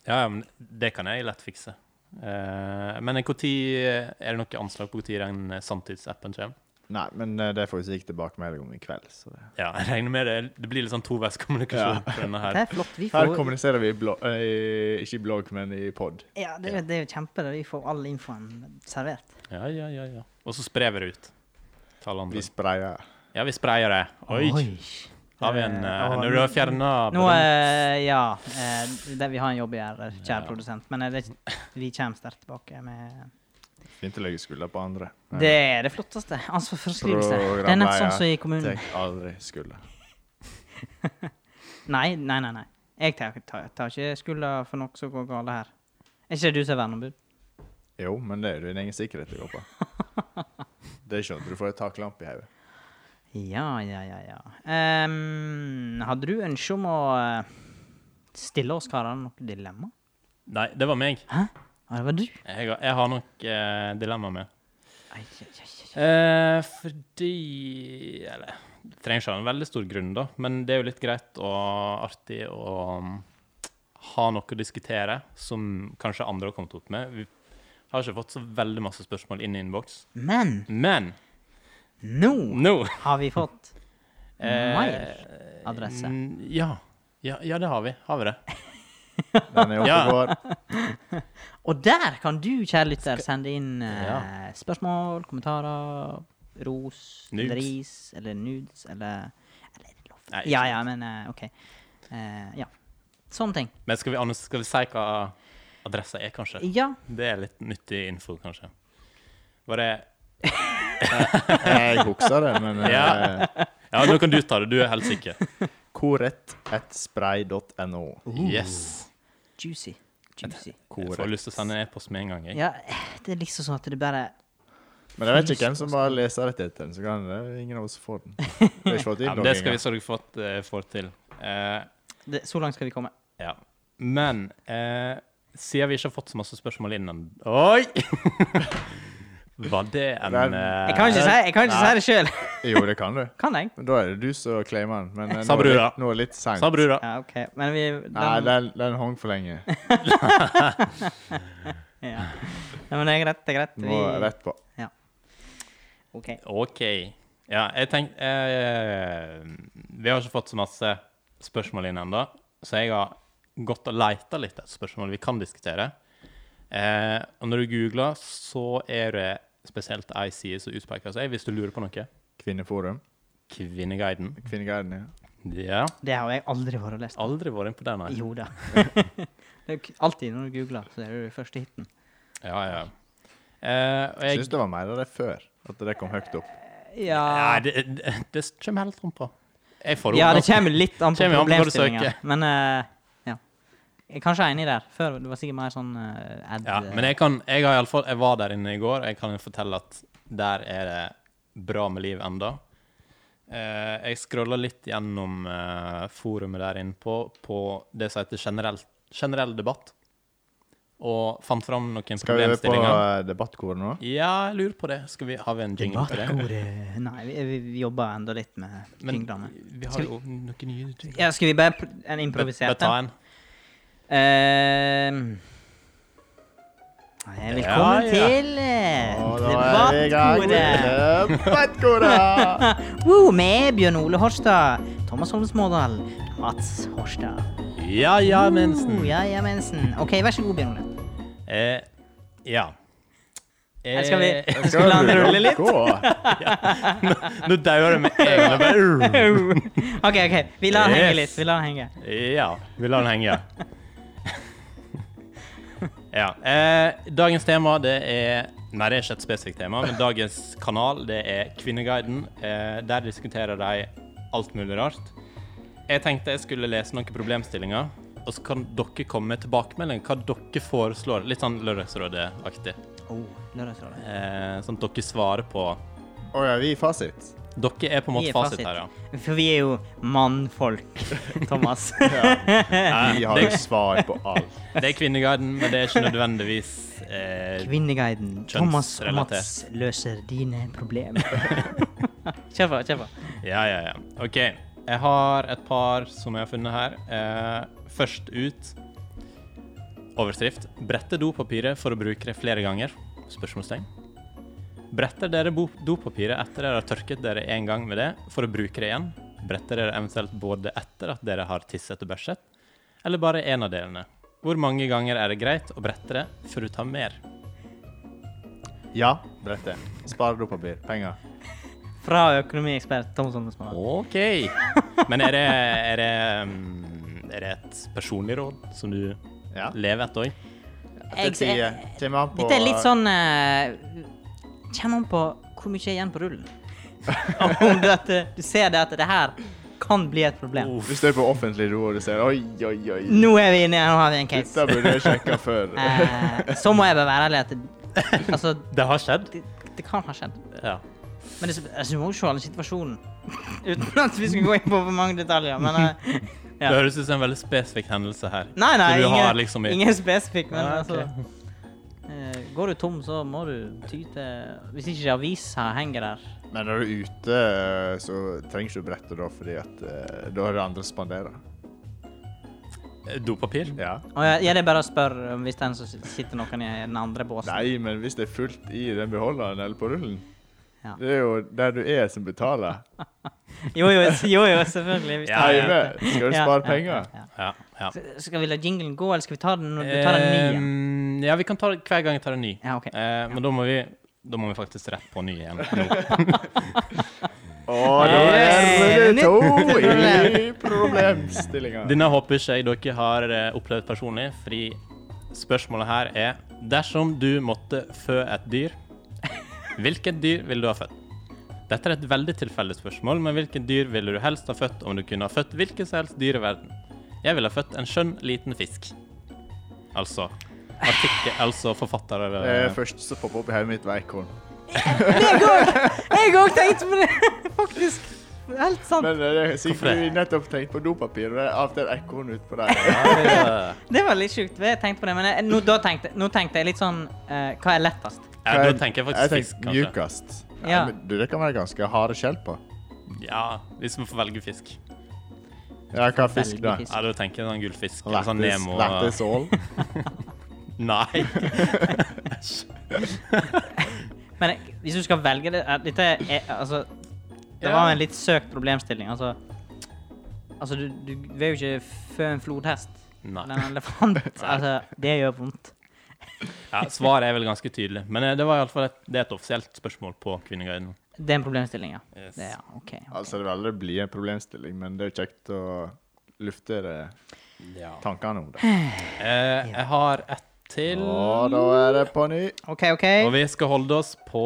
Speaker 2: Ja, ja, men det kan jeg lett fikse. Eh, men når er det noe anslag på når den eh, samtidsappen kommer?
Speaker 3: Nei, men eh, det får vi sikkert tilbakemelding om i kveld. Så det.
Speaker 2: Ja, jeg regner med det. Det blir litt sånn toveiskommunikasjon på denne her.
Speaker 1: Det er flott. Vi
Speaker 3: Her
Speaker 1: får
Speaker 3: kommuniserer vi i blog, eh, ikke i blogg, men i pod.
Speaker 1: Ja, det, er- det er jo kjempe. det. Vi får all infoen servert.
Speaker 2: Ja, ja, ja, ja. Og så sprer vi det ut. til alle andre.
Speaker 3: Vi sprayer.
Speaker 2: Ja, vi sprayer det. Oi! Har vi en
Speaker 1: Eh,
Speaker 2: eh,
Speaker 1: og-
Speaker 2: Når du har fjerna
Speaker 1: Nå, eh, ja eh, det, Vi har en jobb å gjøre, kjære
Speaker 2: Ja.
Speaker 1: produsent. Men eh, det, vi kommer sterkt tilbake med
Speaker 3: Fint å legge skulda på andre. men
Speaker 1: Det er det flotteste. Ansvar for skrivelse. Det er nett sånn som i kommunen.
Speaker 3: Tek aldri skulda.
Speaker 1: Nei, nei, nei. nei. Jeg tar, tar, tar ikke skylda for noe som går galt her. Er ikke det du som er verneombud?
Speaker 3: Jo, men det er jo din egen sikkerhet du går på. Det er ikke at du får et taklamp i hodet.
Speaker 1: Ja, ja, ja, ja. Ehm, hadde du ønske om å eh, stille oss karer noe dilemma?
Speaker 2: Nei, det var meg.
Speaker 1: Hæ? Ja, det var du.
Speaker 2: Jeg har, jeg har nok eh, dilemma med.
Speaker 1: Ai, ai, ai, ai.
Speaker 2: Eh, fordi Eller det trenger ikke ha en veldig stor grunn, da, men det er jo litt greit og artig å mm, ha noe å diskutere som kanskje andre har kommet opp med. Vi har ikke fått så veldig masse spørsmål inn i innboks.
Speaker 1: Men
Speaker 2: Men
Speaker 1: nå
Speaker 2: nå
Speaker 1: har vi fått
Speaker 2: eh,
Speaker 1: mailadresse.
Speaker 2: n- Mm, Ja. ja. Ja, det har vi. Har vi det?
Speaker 3: Den er oppe
Speaker 2: Ja.
Speaker 3: og går.
Speaker 1: Og der kan du, kjære lytter, sende inn eh,
Speaker 2: Ja.
Speaker 1: spørsmål, kommentarer, ros,
Speaker 2: Nudes.
Speaker 1: eller ris, eller nudes, eller Eller er det lov?
Speaker 2: Nei, ikke
Speaker 1: ja, ja, men eh, OK. Eh, ja. Sånne ting.
Speaker 2: Men skal vi, annons- skal vi si hva adressa er, kanskje?
Speaker 1: Ja.
Speaker 2: Det er litt nyttig info, kanskje. Var det
Speaker 3: Jeg husker det, men eh,
Speaker 2: Ja. Ja, nå kan du ta det. Du er helt sikker.
Speaker 3: korett.spray.no.
Speaker 2: Yes.
Speaker 1: Juicy. Juicy.
Speaker 2: Jeg får lyst til å sende en e-post med en gang. Jeg.
Speaker 1: Ja, det er liksom sånn at det bare
Speaker 3: Men jeg vet ikke hvem som bare leser rettigheten, så kan det er ingen av oss som får den. Vi har ikke fått
Speaker 2: Ja,
Speaker 3: inn
Speaker 2: men
Speaker 3: noen
Speaker 2: det skal vi
Speaker 3: engang.
Speaker 2: sørge for at eh, får til. Eh,
Speaker 1: det, Så langt skal vi komme.
Speaker 2: ja. Men eh, siden vi ikke har fått så masse spørsmål innan Oi! Var det en
Speaker 3: Nei,
Speaker 2: eh,
Speaker 1: Jeg kan ikke si, jeg kan ikke
Speaker 2: Nei.
Speaker 1: si det sjøl.
Speaker 3: Jo, det kan du.
Speaker 1: Kan jeg?
Speaker 3: Men da er det du som claimer den. Men eh,
Speaker 2: Sa
Speaker 3: nå er det-
Speaker 2: brura.
Speaker 3: nå er det litt seint.
Speaker 2: Sa brura.
Speaker 1: Ja, OK. Men vi
Speaker 3: Nei,
Speaker 1: den-
Speaker 3: den, den hang for lenge.
Speaker 1: ja. Nei, men det er greit. Det er greit.
Speaker 3: Må rett på.
Speaker 1: OK.
Speaker 2: OK. Ja, jeg tenkte eh, Vi har ikke fått så masse spørsmål inn ennå, så jeg har gått og leita litt etter spørsmål vi kan diskutere. Eh, og når du googler, så er det spesielt ei side som utpeker seg, hvis du lurer på noe.
Speaker 3: Kvinneforum.
Speaker 2: Kvinneguiden.
Speaker 3: Kvinneguiden, ja.
Speaker 2: Ja.
Speaker 1: Det har jeg aldri vært og lest.
Speaker 2: Aldri vært inn på den, nei.
Speaker 1: Jo da. det er jo k- alltid når du googler, så er det den første hiten.
Speaker 2: Ja, ja. Eh, og jeg
Speaker 3: Syns det var mer av det før. At det kom høyt opp.
Speaker 2: Nei,
Speaker 1: Ja,
Speaker 2: det, det, det kommer helt an på. Jeg får
Speaker 1: ja det
Speaker 2: ganske-
Speaker 1: kommer litt an på
Speaker 2: Kommer an på hva du
Speaker 1: problemstillinga.
Speaker 2: søker.
Speaker 1: Men eh, ja. Jeg er kanskje enig der. Før det var sikkert mer sånn eh, ad
Speaker 2: Ja, men jeg kan, jeg har i alle fall, jeg var der inne i går, og jeg kan jo fortelle at der er det bra med liv enda. Eh, jeg scroller litt gjennom eh, forumet der inne på, på det som heter generell, generell debatt, og fant fram noen
Speaker 3: Skal vi på
Speaker 2: problemstillinger.
Speaker 3: eh, debattkor nå?
Speaker 2: Ja, jeg lurer på det. Skal vi, har vi en jingle til det?
Speaker 1: Debattordet Nei, vi, vi, vi jobber enda litt med
Speaker 2: Men
Speaker 1: jinglene.
Speaker 2: vi
Speaker 1: Skal
Speaker 2: har jo noen nye jingler.
Speaker 1: Ja, skal vi bare pr- en
Speaker 2: Bare bare
Speaker 1: improvisert
Speaker 2: ta
Speaker 1: en? Ehm,
Speaker 2: en.
Speaker 1: Eh, eh, velkommen
Speaker 2: Ja, ja.
Speaker 1: til eh,
Speaker 3: Og da er vi i gang med
Speaker 1: Debattkoret.
Speaker 3: Debattkoret!
Speaker 1: Woo, med Bjørn Ole Horstad, Thomas Holm Smådal, Mats Horstad.
Speaker 2: Ja, ja, mensen.
Speaker 1: Oh, ja, ja, mensen. OK, vær så god, Bjørn Ole.
Speaker 2: Eh, ja.
Speaker 1: Her skal vi
Speaker 2: Eh,
Speaker 1: her skal la han rulle litt.
Speaker 3: Gå.
Speaker 2: Nå dauer det med en gang. Bare-
Speaker 1: OK, ok, vi lar han henge
Speaker 2: Yes.
Speaker 1: litt. vi lar han henge.
Speaker 2: Ja, vi lar den henge. ja. Eh, dagens tema, det er Nei, det er ikke et spesifikt tema, men dagens kanal, det er Kvinneguiden. Eh, der diskuterer de alt mulig rart. Jeg tenkte jeg skulle lese noen problemstillinger, og så kan dere komme med tilbakemelding. Hva dere foreslår. Litt sånn Lørdagsrådet-aktig.
Speaker 1: Oh, lørdagsrådet.
Speaker 2: Eh, sånn at dere svarer på
Speaker 3: Å ja, vi er fasit.
Speaker 2: Dere er på en
Speaker 1: Vi
Speaker 2: måte
Speaker 1: er
Speaker 2: fasit
Speaker 1: fasit.
Speaker 2: her, ja.
Speaker 1: For vi er jo mannfolk, Thomas.
Speaker 3: Vi har jo svar på alt.
Speaker 2: Det er Kvinneguiden, men det er ikke nødvendigvis eh,
Speaker 1: Kvinneguiden. Thomas og
Speaker 2: Kjønnsrelatert.
Speaker 1: Mats løser dine problemer. kjør på, kjør på.
Speaker 2: Ja, ja, ja. OK. Jeg har et par som jeg har funnet her. Eh, først ut Overskrift. Bretter dopapiret for å bruke det flere ganger? Spørsmålstegn. Bretter dere bo- dopapiret etter dere har tørket dere én gang med det, for å bruke det igjen? Bretter dere eventuelt både etter at dere har tisset og bæsjet, eller bare én av delene? Hvor mange ganger er det greit å brette det før du tar mer?
Speaker 3: Ja, brette. Spar dopapir. Penger.
Speaker 1: Fra økonomiekspert Thomas Holmesmann.
Speaker 2: OK. Men er det, er det, mm, er det et personlig råd som du
Speaker 3: Ja.
Speaker 2: lever etter òg?
Speaker 3: Til tide. Kommer an på
Speaker 1: Dette er litt sånn eh, Kommer an på hvor mye er igjen på rullen. Om du, at, eh, du ser det at det her kan bli et problem.
Speaker 3: Hvis du er på offentlig do og du ser Oi, oi, oi.
Speaker 1: Nå er vi inne, nå har vi en
Speaker 3: Dette
Speaker 1: case.
Speaker 3: burde jeg sjekka før.
Speaker 1: Eh, så må jeg bare være ærlig at det, altså,
Speaker 2: Det har skjedd.
Speaker 1: det, det kan ha skjedd.
Speaker 2: Ja.
Speaker 1: Men det, altså, du må jo se alle situasjonen. Uten at vi skal gå inn på for mange detaljer. Men eh, Ja.
Speaker 2: Det høres ut som en veldig spesifikk hendelse her.
Speaker 1: Nei, nei,
Speaker 2: Så du har
Speaker 1: ingen,
Speaker 2: liksom i-
Speaker 1: ingen spesifikk, men
Speaker 2: Ah, ok.
Speaker 1: altså eh, Går du tom, så må du ty til Hvis ikke avisa henger der.
Speaker 3: Men når du er ute, eh, så trenger du ikke brettet da, fordi at eh, da er det andre spanderer.
Speaker 2: Eh, Dopapir?
Speaker 3: Ja.
Speaker 1: Og jeg, jeg er bare spør om hvis den som sitter noen i den andre båsen.
Speaker 3: Nei, men hvis det er fullt i den beholderen eller på rullen
Speaker 1: Ja.
Speaker 3: Det er jo der du er, som betaler.
Speaker 1: Jo, jo, s- jo, jo selvfølgelig. Hvis
Speaker 2: Ja,
Speaker 1: det er-
Speaker 3: jeg vet. Skal du
Speaker 1: Ja,
Speaker 3: spare
Speaker 1: ja,
Speaker 3: penger?
Speaker 1: ja, ja.
Speaker 2: Ja. ja.
Speaker 1: S- Skal vi la jinglen gå, eller skal vi ta den når du tar en ny? igjen?
Speaker 2: Ehm, ja, vi kan ta hver gang jeg tar en ny.
Speaker 1: Ja, ok.
Speaker 2: Eh, men da må vi da må vi faktisk rett på ny igjen.
Speaker 3: Å, da er
Speaker 1: Nytt
Speaker 3: det to
Speaker 1: problem.
Speaker 3: i problemstillinga.
Speaker 2: Denne håper ikke jeg dere har eh, opplevd personlig, fordi spørsmålet her er Dersom du måtte fø et dyr, hvilket dyr ville du ha født? Dette er et veldig tilfeldig spørsmål, men hvilket dyr ville du helst ha født om du kunne ha født hvilket som helst dyr i verden? Jeg ville ha født en skjønn, liten fisk. Altså artikkel, altså forfatter
Speaker 3: Det
Speaker 2: eller
Speaker 3: første som Eh, popper opp i hodet mitt, var ekorn.
Speaker 1: Jeg òg tenkte på det! Faktisk. Helt sant.
Speaker 3: Men eh, det er
Speaker 2: Hvorfor
Speaker 3: sikkert
Speaker 2: det?
Speaker 3: vi nettopp tenkte på dopapir, og det er alltid ekorn utpå der.
Speaker 1: Det var litt sjukt. Jeg tenkte på det, men jeg, nå, da tenkte, nå tenkte jeg litt sånn eh, Hva er lettest?
Speaker 2: ja, Da tenker jeg faktisk
Speaker 3: tenkte
Speaker 2: fisk, kanskje.
Speaker 3: Mjukast.
Speaker 1: Ja.
Speaker 3: men du, det kan være ganske harde skjell på.
Speaker 2: Ja, Hvis vi får velge fisk.
Speaker 3: Ja, hva er fisk, da?
Speaker 1: Velgefisk.
Speaker 2: Ja, Da tenker jeg sånn gullfisk. eller Sånn
Speaker 3: Lættis,
Speaker 2: Nemo.
Speaker 3: lættis ål?
Speaker 2: Nei.
Speaker 1: Men jeg- hvis du skal velge det er- Dette er altså Det
Speaker 2: Ja.
Speaker 1: var en litt søkt problemstilling. Altså, altså du, du vil jo ikke fø en flodhest eller
Speaker 2: Nei.
Speaker 1: en elefant. Altså, det gjør vondt.
Speaker 2: Ja, svaret er vel ganske tydelig. Men eh, det var i alle fall et, det er et offisielt spørsmål på Kvinneguiden.
Speaker 1: Det er en problemstilling, ja.
Speaker 2: Yes.
Speaker 1: Det, ja ok.
Speaker 3: Altså, det vil aldri bli en problemstilling, men det er jo kjekt å lufte det- tankene om det.
Speaker 2: Eh, jeg har ett til.
Speaker 3: Og da er det på ny.
Speaker 1: OK, OK.
Speaker 2: Og vi skal holde oss på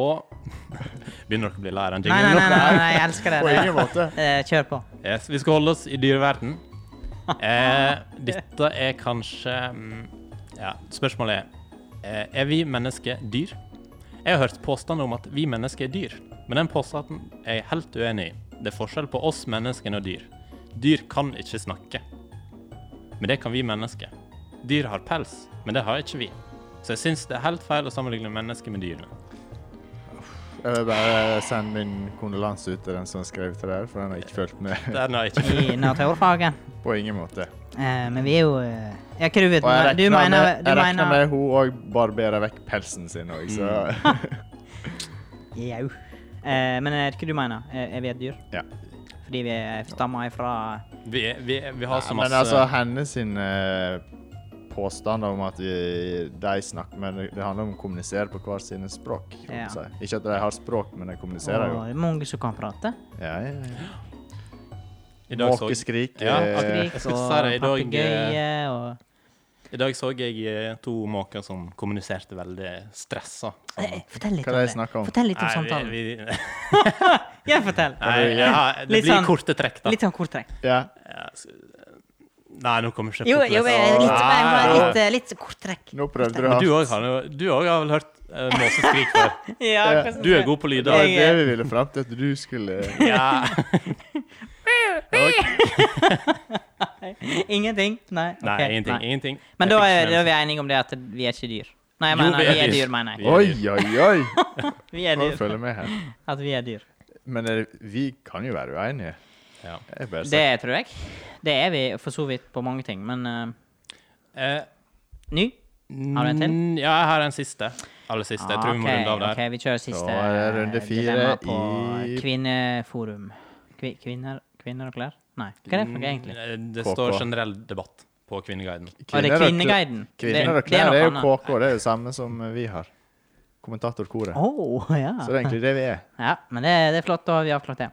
Speaker 2: Begynner dere å bli lei av den
Speaker 1: Nei, nei, nei,
Speaker 2: jinglen?
Speaker 1: nei, nei, jeg elsker det.
Speaker 3: På ingen
Speaker 1: det.
Speaker 3: måte.
Speaker 1: Eh, kjør på.
Speaker 2: Yes, vi skal holde oss i dyreverden. Eh, dette er kanskje mm, Ja, spørsmålet er eh, Er vi mennesker dyr? Jeg har hørt påstander om at vi mennesker er dyr, men den påstanden er jeg helt uenig i. Det er forskjell på oss menneskene og dyr. Dyr kan ikke snakke. Men det kan vi mennesker. Dyr har pels, men det har ikke vi. Så jeg syns det er helt feil å sammenligne mennesker med dyrene.
Speaker 3: Jeg vil bare sende min kondolanse ut til den som skrev til det her, for den har ikke fulgt med
Speaker 2: Den har ikke
Speaker 1: I naturfaget.
Speaker 3: på ingen måte.
Speaker 1: Eh, men vi er jo eh, Ja, hva du vet
Speaker 3: Og jeg
Speaker 1: Du
Speaker 3: regner
Speaker 1: mener,
Speaker 3: med,
Speaker 1: du
Speaker 3: jeg regner
Speaker 1: mener
Speaker 3: med hun òg barberer vekk pelsen sin òg, så
Speaker 1: Mm. Jau. Eh, men er det ikke du mener? Eh, Er, er vi et dyr?
Speaker 3: Ja.
Speaker 1: Fordi vi er stammer ifra
Speaker 2: Vi, vi, vi har så
Speaker 3: Nei,
Speaker 2: masse
Speaker 3: Men altså, hennes sin, eh, påstand om at vi, de snakker Men det handler om å kommunisere på hver sine språk. kan
Speaker 1: Ja.
Speaker 3: man Si. Ikke at de har språk, men de kommuniserer
Speaker 1: Og
Speaker 3: jo.
Speaker 1: det er mange som kan prate.
Speaker 3: Ja, ja, ja.
Speaker 2: I dag så-
Speaker 3: Måkeskrik.
Speaker 2: Ja,
Speaker 3: eh,
Speaker 2: jeg
Speaker 1: Skrik
Speaker 2: skulle
Speaker 1: og
Speaker 2: si det, i dag, eh,
Speaker 1: papegøye og
Speaker 2: I dag så jeg eh, to måker som kommuniserte veldig stressa.
Speaker 1: Eh, Fortell litt om
Speaker 3: Hva er det
Speaker 1: det.
Speaker 3: jeg snakker om?
Speaker 1: Fortell litt om
Speaker 2: Nei,
Speaker 1: samtalen.
Speaker 2: vi, vi,
Speaker 1: Ja, fortell.
Speaker 2: nei ja, det
Speaker 1: Litt
Speaker 2: blir
Speaker 1: sånn-
Speaker 2: korte trekk, da.
Speaker 1: Litt sånn kort trekk.
Speaker 3: ja.
Speaker 2: Ja, s- Nei, nå kommer ikke
Speaker 1: Jo,
Speaker 2: kortløs.
Speaker 1: jo, eh, litt, jeg må ha
Speaker 2: Nei,
Speaker 1: litt, eh, litt kort trekk.
Speaker 3: Nå prøvde du
Speaker 2: Men
Speaker 3: hardt.
Speaker 2: Du òg har, jo- du også har vel hørt eh, måseskrik før?
Speaker 1: Ja,
Speaker 3: Eh,
Speaker 1: hva skal
Speaker 2: Du
Speaker 1: jeg
Speaker 2: er
Speaker 1: si?
Speaker 2: god på
Speaker 3: Det var
Speaker 2: lyder.
Speaker 1: Jeg-
Speaker 3: det vi ville fram til, at du skulle
Speaker 2: Ja. Ok.
Speaker 1: Ingenting? Nei.
Speaker 2: Nei,
Speaker 1: ok,
Speaker 2: ingenting.
Speaker 1: nei.
Speaker 2: ingenting.
Speaker 1: Men
Speaker 2: Jeg
Speaker 1: da
Speaker 2: fikk
Speaker 1: er,
Speaker 2: ikke
Speaker 1: da er
Speaker 2: med
Speaker 1: vi enige om det at vi er ikke dyr. Nei, jeg
Speaker 2: Jo,
Speaker 1: mener,
Speaker 2: vi er
Speaker 1: vi er
Speaker 2: dyr.
Speaker 1: dyr, mener jeg.
Speaker 2: Vi er
Speaker 3: Oi,
Speaker 2: dyr.
Speaker 3: oi, oi!
Speaker 1: Vi er
Speaker 3: Nå
Speaker 1: dyr.
Speaker 3: følger med her.
Speaker 1: At vi er dyr.
Speaker 3: Men er det, vi kan jo være uenige.
Speaker 2: Ja.
Speaker 3: Jeg bare
Speaker 1: Det
Speaker 3: sier
Speaker 1: tror jeg. Det er vi for så vidt på mange ting, men eh,
Speaker 2: Eh,
Speaker 1: ny? Har du en til?
Speaker 2: mm, Ja, jeg har en siste. Aller siste. Jeg tror vi må
Speaker 1: Ah, ok,
Speaker 2: runde av der.
Speaker 1: ok, vi kjører siste
Speaker 3: Da er det runde
Speaker 1: eh,
Speaker 3: fire
Speaker 1: dilemma på
Speaker 3: i-
Speaker 1: kvinneforum. Kvi, kvinner, kvinner og klær? Nei, hva er det for noe egentlig?
Speaker 2: Eh, Det
Speaker 3: KK.
Speaker 2: står generell debatt på Kvinneguiden.
Speaker 1: Var det
Speaker 3: og kl-
Speaker 1: Kvinneguiden?
Speaker 3: Kvinner og klær er jo KK, det er det samme som vi har. Kommentatorkoret.
Speaker 1: Å, ja.
Speaker 3: Så det er egentlig det vi er.
Speaker 1: ja. Men det, det er flott, da har vi avklart det.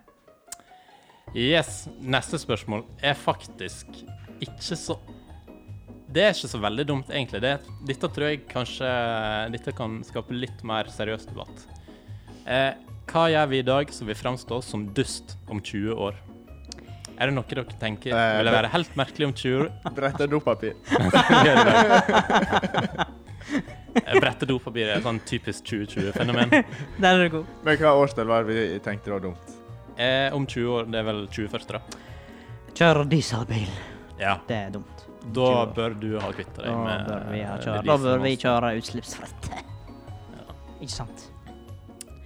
Speaker 2: Yes. Neste spørsmål er faktisk ikke så Det er ikke så veldig dumt, egentlig. Det, dette tror jeg kanskje eh, Dette kan skape litt mer seriøs debatt. Eh, hva gjør vi i dag som vil framstå som dust om 20 år? Er det noe dere tenker
Speaker 3: Eh,
Speaker 2: ville
Speaker 3: det-
Speaker 2: være helt merkelig om 20 år?
Speaker 3: Brette dopapir.
Speaker 2: Eh, Brette dopapir er et sånn typisk 2020-fenomen.
Speaker 1: Der er du god.
Speaker 3: Men hva årstall var det vi tenkte var dumt?
Speaker 2: Eh, om 20 år, det er vel 2040, da?
Speaker 1: Kjør dieselbil.
Speaker 2: Ja.
Speaker 1: Det er dumt.
Speaker 2: Da
Speaker 1: 20 år.
Speaker 2: bør du ha kvitta
Speaker 1: Da
Speaker 2: deg med
Speaker 1: bør vi, ha
Speaker 2: eh,
Speaker 1: kjøre,
Speaker 2: det
Speaker 1: da bør vi
Speaker 2: dieselmaset.
Speaker 1: kjøre utslippsfritt. Ikke sant?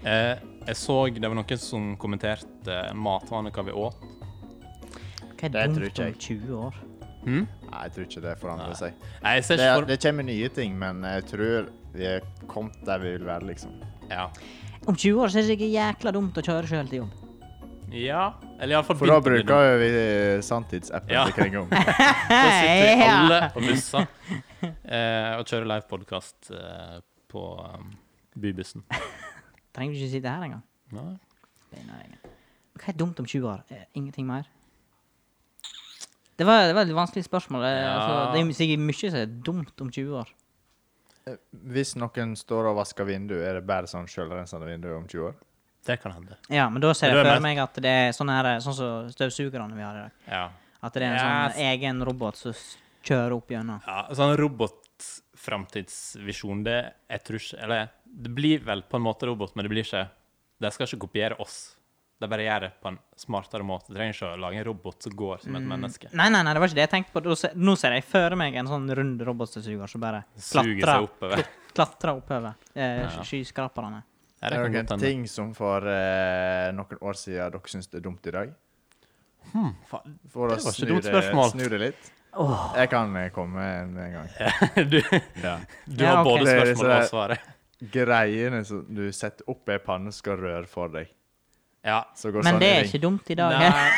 Speaker 2: Eh, jeg så det var noen som kommenterte matvaner hva vi åt.
Speaker 1: Hva er
Speaker 3: Det tror
Speaker 1: dumt
Speaker 3: ikke
Speaker 1: om
Speaker 3: jeg.
Speaker 1: 20 år?
Speaker 2: Hm?
Speaker 3: Nei, jeg tror ikke det forandrer
Speaker 2: Nei.
Speaker 3: seg.
Speaker 2: Nei, jeg ser
Speaker 3: Det,
Speaker 2: ikke for
Speaker 3: det kommer nye ting, men jeg tror vi er kommet der vi vil være, liksom.
Speaker 2: Ja.
Speaker 1: Om 20 år så er det sikkert jækla dumt å kjøre sjøl til jobb.
Speaker 2: ja. Eller iallfall
Speaker 3: For da bruker vi eh, sanntidsappen
Speaker 2: Ja.
Speaker 3: til Kringom.
Speaker 2: Da sitter vi
Speaker 1: Ja.
Speaker 2: alle på busser eh, og kjører live podkast eh, på um, bybussen.
Speaker 1: Trenger du ikke sitte her engang?
Speaker 2: Nei.
Speaker 1: Det er noe eget. Hva er dumt om 20 år? Eh, Ingenting mer? Det var, det var et vanskelig spørsmål. Eh,
Speaker 2: Ja.
Speaker 1: Altså, det er sikkert mye som er dumt om 20 år.
Speaker 3: Eh, Hvis noen står og vasker vindu, er det bare sånn sjølrensende vindu om 20 år?
Speaker 2: Det kan hende.
Speaker 1: Ja, men da ser
Speaker 2: Men
Speaker 1: jeg
Speaker 2: det er
Speaker 1: for meg at det er sånn her, eh, sånn som støvsugerne vi har i dag.
Speaker 2: Ja.
Speaker 1: At det er en
Speaker 2: Yes.
Speaker 1: sånn egen robot som s- kjører opp gjennom.
Speaker 2: ja sånn robotframtidsvisjon, det jeg tror ikke Eller det blir vel på en måte robot, men det blir ikke De skal ikke kopiere oss. De bare gjør det på en smartere måte. De trenger ikke å lage en robot som går
Speaker 3: Mm.
Speaker 2: som et menneske.
Speaker 1: Mm. Nei, nei, nei, det var ikke det jeg tenkte på. Da se- Nå ser jeg for meg en sånn rund robotstøvsuger som bare
Speaker 2: Suger
Speaker 1: klatrer,
Speaker 2: seg oppover.
Speaker 1: klatrer oppover eh,
Speaker 2: Ja.
Speaker 1: skyskraperne.
Speaker 2: Ja, det
Speaker 3: Er det
Speaker 2: kan godt
Speaker 3: noen
Speaker 2: hende.
Speaker 3: ting som for eh, noen år siden dere syns er dumt i dag?
Speaker 2: Hmm, faen.
Speaker 3: For å
Speaker 2: Det var ikke
Speaker 3: snu
Speaker 2: dumt
Speaker 3: det,
Speaker 2: spørsmål.
Speaker 3: snu det litt.
Speaker 1: Åh,
Speaker 3: Jeg kan eh, komme med en, en gang.
Speaker 2: Du,
Speaker 3: Ja.
Speaker 2: du
Speaker 1: Ja,
Speaker 2: har
Speaker 1: ok.
Speaker 2: både
Speaker 3: Det er det som
Speaker 2: spørsmålet
Speaker 3: er-
Speaker 2: og svaret.
Speaker 3: Greiene som du setter opp i panne, skal røre for deg.
Speaker 2: Ja.
Speaker 3: Så går
Speaker 1: men
Speaker 3: sånn
Speaker 1: det
Speaker 3: i
Speaker 1: er
Speaker 3: ring.
Speaker 1: ikke dumt i dag. eh.
Speaker 2: Nei.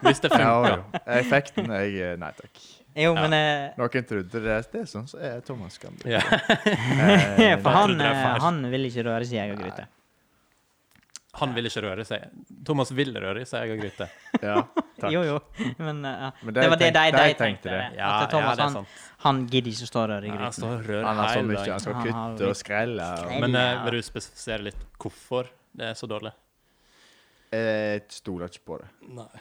Speaker 2: Hvis det
Speaker 3: ja,
Speaker 2: funker.
Speaker 3: jo. Effekten jeg eh, Nei takk.
Speaker 1: Jo, men eh,
Speaker 3: Noen trodde det. Det er sånn som er Thomas kan bli.
Speaker 2: Ja.
Speaker 3: Eh,
Speaker 1: For han,
Speaker 2: trodde jeg
Speaker 1: eh,
Speaker 2: feil.
Speaker 1: han vil ikke røre seg i egen gryte.
Speaker 2: Han vil ikke røre seg. Thomas vil røre i seg og gryte.
Speaker 3: ja, takk.
Speaker 1: Jo, jo. Men, eh, ja.
Speaker 3: Men
Speaker 1: det,
Speaker 3: de
Speaker 1: var det de, de
Speaker 3: tenkte- de
Speaker 1: tenkte.
Speaker 3: tenkte
Speaker 1: det.
Speaker 3: det.
Speaker 2: Ja,
Speaker 1: At Thomas,
Speaker 2: ja, det er
Speaker 1: han,
Speaker 2: sant.
Speaker 1: han gidder ikke stå og røre i
Speaker 2: Han
Speaker 1: gryten.
Speaker 2: står og rører
Speaker 3: Han har så
Speaker 2: hele
Speaker 3: mye. altså. Han
Speaker 2: dagen.
Speaker 3: skal
Speaker 1: Han har
Speaker 3: kutte og skrelle. Og...
Speaker 2: Men eh,
Speaker 1: Ja.
Speaker 2: vil du spesifisere litt hvorfor det er så dårlig?
Speaker 3: eh, Jeg stoler ikke på det.
Speaker 2: Nei.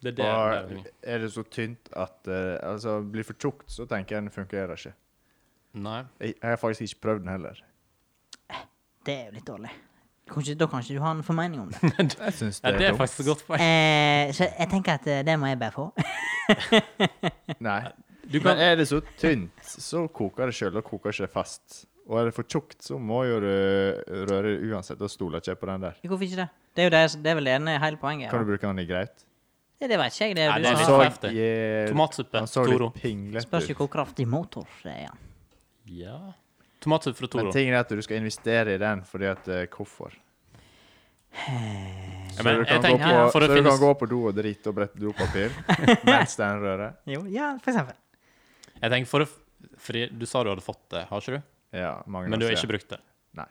Speaker 2: Det er det
Speaker 3: Og
Speaker 2: det er-
Speaker 3: er det så tynt at eh, Altså, blir for tjukt, så tenker jeg den fungerer ikke.
Speaker 2: Nei.
Speaker 3: Jeg, jeg har faktisk ikke prøvd den heller.
Speaker 1: Det er jo litt dårlig. Kanskje, da kan ikke du ha en formening om det.
Speaker 3: Jeg syns
Speaker 2: Ja,
Speaker 3: det,
Speaker 2: det er
Speaker 3: dumt.
Speaker 2: faktisk et godt poeng.
Speaker 1: eh, så jeg tenker at eh, det må jeg bare få.
Speaker 3: Nei.
Speaker 2: Du kan
Speaker 3: Men er det så tynt, så koker det sjøl. Da koker ikke det fast. Og er det for tjukt, så må jo du røre det uansett. Da stoler ikke jeg på den der.
Speaker 1: Hvorfor ikke det? Det er, jo det, det er vel det ene hele poenget.
Speaker 3: Kan
Speaker 1: Ja.
Speaker 3: du bruke den i greit?
Speaker 1: Det, det vet ikke jeg. Det
Speaker 2: Nei,
Speaker 1: er jo
Speaker 2: det er
Speaker 1: du
Speaker 3: Han
Speaker 2: litt
Speaker 1: som
Speaker 3: så,
Speaker 2: heftig.
Speaker 3: yeah,
Speaker 2: Tomatsuppe,
Speaker 3: han så
Speaker 2: Toro.
Speaker 3: litt
Speaker 1: spørs
Speaker 3: pinglete
Speaker 1: jo
Speaker 3: ut.
Speaker 1: hvor kraftig motor det er.
Speaker 2: Ja. Tomatsuppe fra
Speaker 3: Men
Speaker 2: Toro.
Speaker 3: tingen er at du skal investere i den fordi at eh, Hvorfor?
Speaker 2: Ja,
Speaker 1: Eh,
Speaker 3: Så
Speaker 2: men
Speaker 3: du
Speaker 2: jeg
Speaker 3: kan, gå
Speaker 2: tenker,
Speaker 3: på,
Speaker 2: for
Speaker 3: så
Speaker 2: det
Speaker 3: du kan
Speaker 2: finnes-
Speaker 3: gå på do og drite og brette dopapir mens den rører.
Speaker 1: Jo, ja, for eksempel.
Speaker 2: Jeg tenker for å f- Fordi du sa du hadde fått det, har ikke du?
Speaker 3: Ja, mange
Speaker 2: Men du har
Speaker 3: ganger
Speaker 2: ikke brukt det?
Speaker 3: Nei.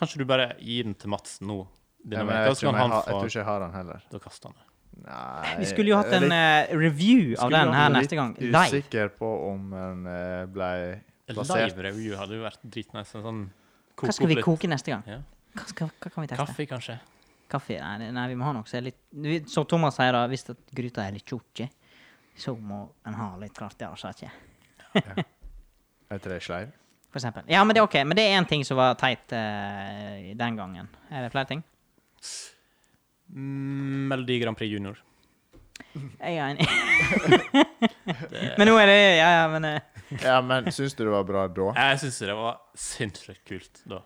Speaker 2: Kanskje du bare gir den til Mats nå?
Speaker 3: Ja,
Speaker 2: Denne
Speaker 3: men
Speaker 2: veka,
Speaker 3: jeg,
Speaker 2: så
Speaker 3: tror
Speaker 2: kan
Speaker 3: jeg,
Speaker 2: han
Speaker 3: har- jeg
Speaker 2: få
Speaker 3: tror ikke jeg har den heller.
Speaker 2: Da kaster han det.
Speaker 3: Nei,
Speaker 1: Vi skulle jo hatt en
Speaker 3: jeg
Speaker 1: eh, review av
Speaker 3: Eh, skulle
Speaker 1: den
Speaker 3: hatt
Speaker 1: her
Speaker 3: en
Speaker 1: neste gang.
Speaker 3: litt
Speaker 1: Live.
Speaker 3: Usikker på om den eh, ble
Speaker 2: En
Speaker 3: plassert
Speaker 2: Live review hadde jo vært dritnice. En sånn
Speaker 1: Hva
Speaker 2: koke
Speaker 1: skal
Speaker 2: opp
Speaker 1: vi
Speaker 2: litt
Speaker 1: koke neste gang?
Speaker 2: Ja.
Speaker 1: Hva, skal, hva kan vi teste?
Speaker 2: Kaffe, kanskje?
Speaker 1: Kaffe? Nei, det- nei vi må ha noe som er litt vi- Som Thomas sier, da, hvis at gryta er litt tjukk, så må en ha litt kraftigere saker.
Speaker 3: Er ikke det sleiv?
Speaker 1: For eksempel. Ja, men det er OK. Men det er én ting som var teit eh, den gangen. Er det flere ting?
Speaker 2: Mm, Melodi Grand Prix Junior.
Speaker 1: Jeg er enig. men nå er det Ja, ja, men eh,
Speaker 3: Ja, men syns du det var bra da?
Speaker 2: Jeg syns det var sinnssykt kult da.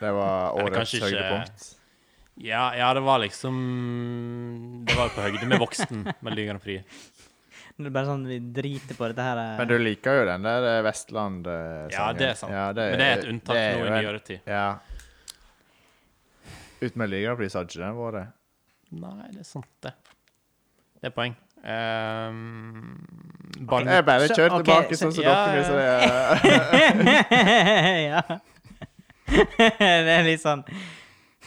Speaker 3: Det var
Speaker 2: Eller
Speaker 3: årets
Speaker 2: kanskje ikke-
Speaker 3: høydepunkt?
Speaker 2: Ja, ja, det var liksom Det var på høyde med voksen Melodi Grand Prix.
Speaker 1: det er bare sånn vi driter på dette her. eh.
Speaker 3: Men du liker jo den der eh, Vestland-sangen.
Speaker 2: Ja, det er sant. Men det er et unntak nå i nyere tid.
Speaker 3: Ja. Uten med ligapris hadde ikke den vært
Speaker 2: Nei, det er sant, det. Det er poeng. Ehm,
Speaker 1: Ok,
Speaker 2: Barn...
Speaker 3: Jeg bare
Speaker 1: Så-
Speaker 3: kjører
Speaker 1: ok,
Speaker 3: tilbake
Speaker 1: så-
Speaker 3: sånn som
Speaker 2: ja,
Speaker 3: dere vil. Så det,
Speaker 1: ja. det er litt sånn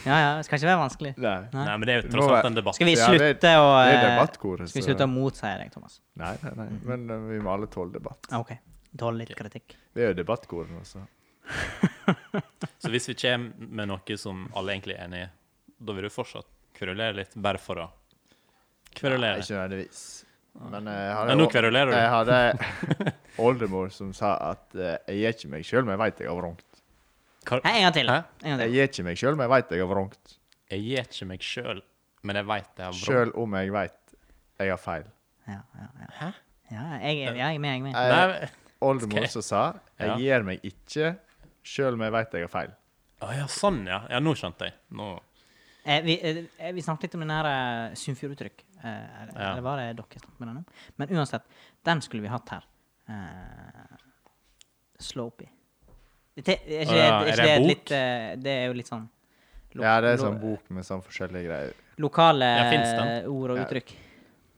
Speaker 1: Ja, ja. Det skal ikke være vanskelig.
Speaker 3: Nei.
Speaker 2: Nei, men det er jo tross alt en debatt.
Speaker 1: Skal vi
Speaker 3: Ja, det-
Speaker 1: slutte å
Speaker 3: Det er
Speaker 1: eh,
Speaker 3: debattkoret.
Speaker 1: Skal vi
Speaker 3: så-
Speaker 1: slutte å motsi deg, Thomas?
Speaker 3: Nei, nei, nei. Men eh, vi må alle tåle debatt.
Speaker 1: Ah, OK. Tåle litt kritikk.
Speaker 3: Vi er jo debattkoret nå, så
Speaker 2: Så hvis vi kommer med noe som alle egentlig er enig i, da vil du fortsatt kverulere litt, bare for å
Speaker 3: Nei,
Speaker 2: kverulere.
Speaker 3: Ikke nødvendigvis. Men eh, jeg
Speaker 2: Men nå
Speaker 3: hadde,
Speaker 2: kverulerer
Speaker 3: jeg
Speaker 2: du.
Speaker 3: hadde oldemor som sa at eh, 'jeg er ikke meg sjøl, men jeg veit jeg har vrangt'.
Speaker 2: Kar-
Speaker 1: Hei, en gang til.
Speaker 2: Hæ?
Speaker 1: En gang til.
Speaker 3: Jeg er ikke meg sjøl, men jeg veit jeg har vrangt.
Speaker 2: Jeg gir ikke meg sjøl, men jeg veit jeg har brått.
Speaker 3: Sjøl om jeg veit jeg har feil.
Speaker 1: Ja, ja, ja.
Speaker 2: Hæ?
Speaker 1: ja jeg, er- jeg er med, jeg er med.
Speaker 3: Jeg,
Speaker 2: Nei,
Speaker 3: oldemor
Speaker 2: Ok.
Speaker 3: som sa 'jeg
Speaker 2: Ja.
Speaker 3: gir meg ikke sjøl om jeg veit jeg har feil'.
Speaker 2: Å ja, sånn, ja. Ja, nå skjønte jeg. Nå.
Speaker 1: Eh, vi, eh, vi snakket litt om den der eh, Sunnfjord-uttrykk. Eh, eller,
Speaker 2: Ja.
Speaker 1: eller var det dere snakket med den om? Men uansett, den skulle vi hatt her. Eh, Slopey. Dette, er ikke,
Speaker 2: Å ja,
Speaker 1: er
Speaker 2: er det
Speaker 1: ikke
Speaker 2: en
Speaker 1: det, et
Speaker 2: bok?
Speaker 1: litt eh, Det er jo litt sånn lo-
Speaker 3: Ja, det er
Speaker 1: lo-
Speaker 3: sånn bok med sånn forskjellige greier.
Speaker 1: Lokale
Speaker 2: Ja, finnes den?
Speaker 1: eh, ord og
Speaker 3: Ja.
Speaker 1: uttrykk.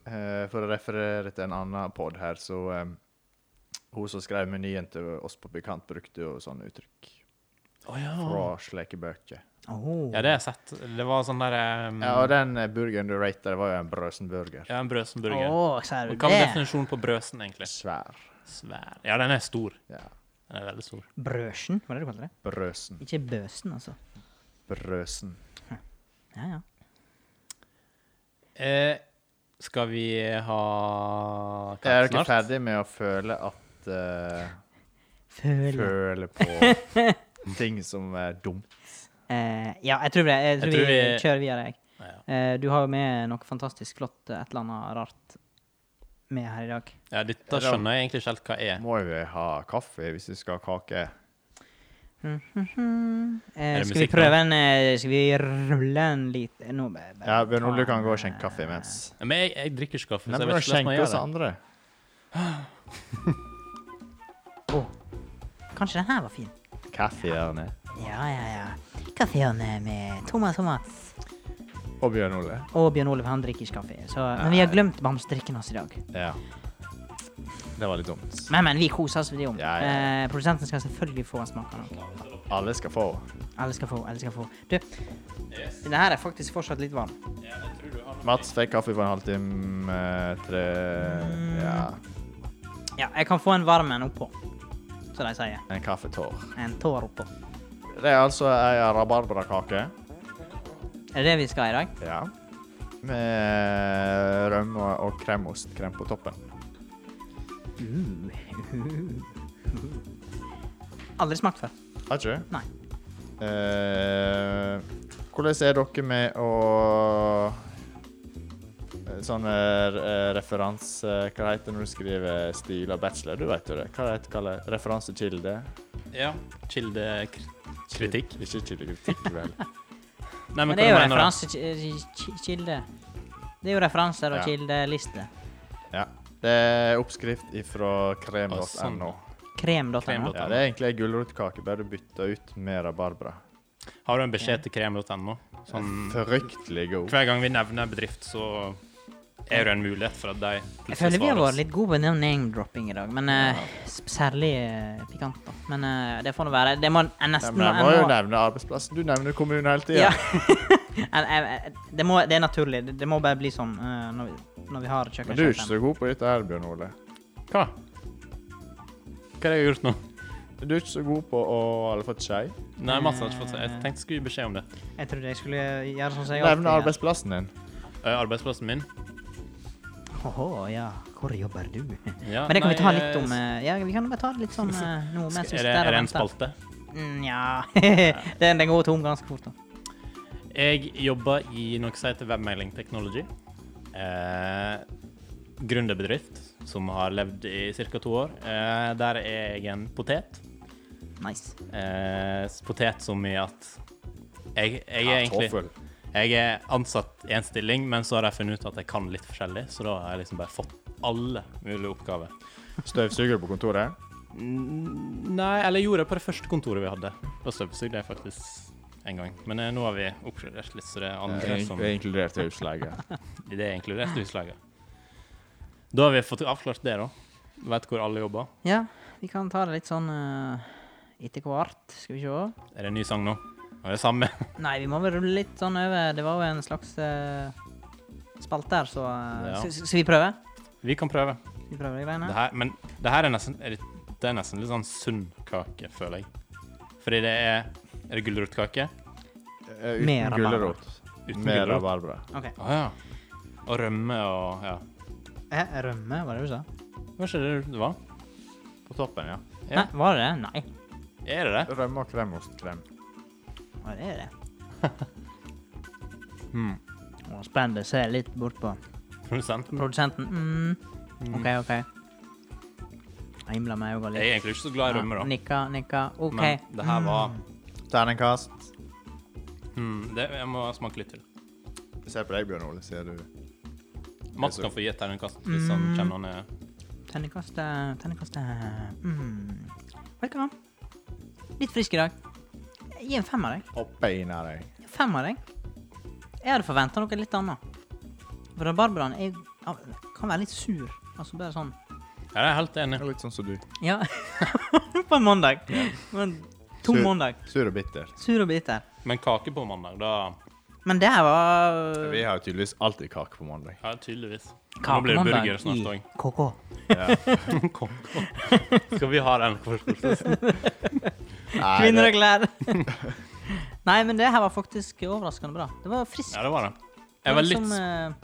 Speaker 3: Eh, for å referere til en annen pod her, så eh, Hun som skrev menyen til oss på Pikant, brukte jo sånne uttrykk
Speaker 2: Å ja.
Speaker 3: fra slike bøker.
Speaker 1: Oh.
Speaker 2: Ja, det har jeg sett. Det var sånn der um,
Speaker 3: Ja, og den eh, burgeren du rater, det var jo en brøsenburger.
Speaker 2: Ja, en brødsenburger.
Speaker 1: Å, ser du
Speaker 2: Hva er
Speaker 1: det?
Speaker 2: definisjonen på brøsen, egentlig?
Speaker 3: Svær.
Speaker 2: Svær. Ja, den er stor.
Speaker 3: Ja.
Speaker 2: Den er veldig stor.
Speaker 1: Brøsen, var det du kalte det?
Speaker 3: Brøsen.
Speaker 1: Ikke bøsen, altså.
Speaker 3: Brøsen.
Speaker 1: Ja, ja.
Speaker 2: Eh, skal vi ha
Speaker 3: Jeg er ikke ferdig med å føle at eh,
Speaker 1: Føler
Speaker 3: Føle på ting som er dumt.
Speaker 1: Eh, ja, jeg tror det. Jeg tror,
Speaker 2: Jeg tror
Speaker 1: vi,
Speaker 2: vi-
Speaker 1: kjører videre, jeg.
Speaker 2: Ja.
Speaker 1: Eh, du har jo med noe fantastisk flott, eh, et eller annet rart, med her i dag.
Speaker 2: Ja, dette skjønner jeg egentlig ikke helt hva er.
Speaker 3: Må jo ha kaffe hvis du skal ha kake.
Speaker 1: Eh,
Speaker 2: det
Speaker 1: skal vi
Speaker 2: musikk nå?
Speaker 1: prøve en eh, Skal vi rulle en litt eh, nå, bare- bare
Speaker 3: Ja, Bjørn Ole
Speaker 1: ta
Speaker 3: kan
Speaker 1: en,
Speaker 3: gå og skjenke
Speaker 1: eh,
Speaker 3: kaffe imens.
Speaker 2: Men jeg, jeg drikker ikke kaffe, så
Speaker 3: Nei,
Speaker 2: jeg
Speaker 3: men
Speaker 2: vet
Speaker 3: da
Speaker 2: ikke hvordan man
Speaker 3: skjenker
Speaker 2: gjør
Speaker 3: oss
Speaker 2: det.
Speaker 3: andre.
Speaker 1: å, kanskje den her var fin.
Speaker 3: Kaffe gjerne.
Speaker 1: Ja, ja, ja. Kaffehjørnet med Thomas og Mats.
Speaker 3: Og Bjørn Ole.
Speaker 1: Og Bjørn Olav, han drikker ikke kaffe. Så, men vi har glemt bamsedrikken hans i dag.
Speaker 3: Ja. Det var litt dumt.
Speaker 1: Men, men, vi koser oss med det om.
Speaker 3: Ja, ja, ja.
Speaker 1: Eh, produsenten skal selvfølgelig få en smak av noe.
Speaker 3: Alle skal få.
Speaker 1: Alle skal få, alle skal få. Du, den her er faktisk fortsatt litt varm.
Speaker 3: Mats fikk kaffe for en halvtime, eh, tre Ja,
Speaker 1: Ja, jeg kan få en varm en oppå. Så de sier.
Speaker 3: en kaffetår.
Speaker 1: En tår oppå.
Speaker 3: Det er altså ei rabarbrakake.
Speaker 1: Er det det vi skal i dag?
Speaker 3: Ja. Med rømme og kremost. Krem på toppen.
Speaker 1: Aldri smakt før.
Speaker 3: Har ikke du?
Speaker 1: Nei.
Speaker 3: Eh, hvordan er dere med å eh, Sånne eh, referanse... Hva heter det når du skriver stil av bachelor? Du vet jo det. Hva heter det? Referansekilde?
Speaker 2: Ja. Kildekritikk.
Speaker 3: Ikke kildekritikk, vel.
Speaker 2: Nei,
Speaker 1: Men
Speaker 2: men
Speaker 1: det er
Speaker 2: hva
Speaker 1: jo eh,
Speaker 2: du mener da?
Speaker 1: referansekilde. Det er jo referanser og
Speaker 3: Ja.
Speaker 1: kildelister.
Speaker 3: Ja. Det er oppskrift ifra krem.no.
Speaker 2: Å, sånn.
Speaker 1: Krem.no.
Speaker 2: Krem.no.
Speaker 3: Ja, det er egentlig ei gulrotkake, bare du bytter ut med rabarbra.
Speaker 2: Har du en beskjed til krem.no? Sånn,
Speaker 3: Fryktelig god.
Speaker 2: hver gang vi nevner bedrift, så er det en mulighet for at de
Speaker 1: Jeg føler vi har vært litt gode på den name-dropping i dag, men eh, s- særlig eh, pikant, da. Men eh, det får nå være. Det må jeg
Speaker 3: Ja,
Speaker 1: nesten
Speaker 3: men jeg må jo
Speaker 1: jeg må-
Speaker 3: nevne arbeidsplassen. Du nevner kommunen hele tida.
Speaker 1: Ja. Jeg- jeg- jeg- det, må, det er naturlig. Det, det må bare bli sånn eh, når, vi, når vi har
Speaker 3: Men du er ikke
Speaker 1: kjøkkensjefen.
Speaker 3: så god på dette her, Bjørn Ole.
Speaker 2: Hva? Hva har jeg gjort nå?
Speaker 3: Du er ikke så god på å Har du fått skei?
Speaker 2: Nei, Mats har ikke fått se. Jeg tenkte jeg skulle gi beskjed om det.
Speaker 1: Jeg trodde jeg skulle gjøre sånn som jeg
Speaker 3: Nevne
Speaker 1: alltid gjør.
Speaker 3: arbeidsplassen din.
Speaker 2: Eh, Arbeidsplassen min?
Speaker 1: Åhå, ja. Hvor jobber du?
Speaker 2: Ja,
Speaker 1: Men det kan vi ta
Speaker 2: nei,
Speaker 1: litt om
Speaker 2: eh,
Speaker 1: eh, Ja, vi kan bare ta det litt sånn eh, nå mens vi
Speaker 2: Er det, er
Speaker 1: sitter
Speaker 2: det en
Speaker 1: venter.
Speaker 2: spalte?
Speaker 1: Nja den, den går tom ganske fort. da.
Speaker 2: Jeg jobber i noe som heter Webmailing Technology. Eh, gründerbedrift som har levd i ca. to år. Eh, der er jeg en potet.
Speaker 1: Nice.
Speaker 2: Eh, potet som i at jeg, jeg er egentlig
Speaker 3: Kartoffel.
Speaker 2: Jeg er ansatt i en stilling, men så har de funnet ut at jeg kan litt forskjellig, så da har jeg liksom bare fått alle mulige oppgaver.
Speaker 3: Støvsuger på kontoret.
Speaker 2: Nei, eller gjorde det på det første kontoret vi hadde. Da støvsugde jeg faktisk en gang. Men eh, nå har vi oppgradert litt, så det er andre som
Speaker 3: Det er inkludert i husleie.
Speaker 2: Det er inkludert i utslaget. Da har vi fått avklart det, da. Vet hvor alle jobber.
Speaker 1: Ja, vi kan ta det litt sånn eh, etter hvert. Skal vi sjå.
Speaker 2: Er det en ny sang nå? Og det samme.
Speaker 1: Nei, vi må vel rulle litt sånn over. Det var jo en slags eh, spalte her, så eh,
Speaker 2: Ja.
Speaker 1: s- s- Skal vi prøve?
Speaker 2: Vi kan prøve.
Speaker 1: Skal vi prøve de greiene?
Speaker 2: Det her, men det her er nesten er det, det er nesten litt sånn sunn kake, føler jeg. Fordi det er Er det gulrotkake?
Speaker 3: Eh, Uten
Speaker 1: Med rabarbra.
Speaker 3: gulrot.
Speaker 2: Uten
Speaker 3: Med
Speaker 2: gulrot?
Speaker 3: rabarbra.
Speaker 1: OK.
Speaker 2: Å ja. Og rømme og Ja.
Speaker 1: Eh, Rømme, var det du sa?
Speaker 2: Var ikke det det var?
Speaker 3: På toppen, ja.
Speaker 2: Ja.
Speaker 1: Nei, var det det? Nei.
Speaker 2: Er det det?
Speaker 3: Rømme og kremostkrem.
Speaker 1: Ja, det er det.
Speaker 2: Hmm.
Speaker 1: Nå Spennende å se litt bort på
Speaker 2: Produsenten?
Speaker 1: produsenten. Mm. OK, OK. Jeg himla meg òg
Speaker 2: Jeg er
Speaker 1: litt.
Speaker 2: egentlig ikke så glad i rømme, da.
Speaker 1: Nikka, nikka. OK. Mm.
Speaker 2: Men det her var
Speaker 3: Terningkast.
Speaker 2: Hmm, det, jeg må smake litt til.
Speaker 3: Jeg ser på deg, Bjørn Ole. Ser du
Speaker 2: Mats kan få gi et terningkast hvis han
Speaker 1: Mm.
Speaker 2: kjenner han er
Speaker 1: Terningkast eh, Terningkast eh, mm. Vet du hva? Litt frisk i dag. Gi en femmer, jeg.
Speaker 3: oppe inni deg?
Speaker 1: Femmer, jeg. Jeg hadde forventa noe litt annet. For rabarberaen er jo- ja, kan være litt sur. Altså bare sånn
Speaker 2: Ja, jeg er helt enig.
Speaker 3: Det er Litt sånn som du.
Speaker 1: Ja. på en mandag. Men tom
Speaker 3: Sur.
Speaker 1: mandag.
Speaker 3: Sur og bitter.
Speaker 1: Sur og biter.
Speaker 2: Men kake på mandag, da
Speaker 1: Men det her var
Speaker 3: Vi har jo tydeligvis alltid kake på mandag.
Speaker 2: Ja, tydeligvis. Nå blir det
Speaker 1: kakemandag
Speaker 2: burger snart
Speaker 1: i
Speaker 2: òg.
Speaker 1: KK.
Speaker 2: Skal vi ha den for skolefrokosten?
Speaker 3: Nei,
Speaker 1: Kvinner
Speaker 3: det-
Speaker 1: og klær. Nei, men det her var faktisk overraskende bra. Det var friskt.
Speaker 2: Ja, det var det. Jeg var
Speaker 1: Det
Speaker 2: litt,
Speaker 1: som, eh,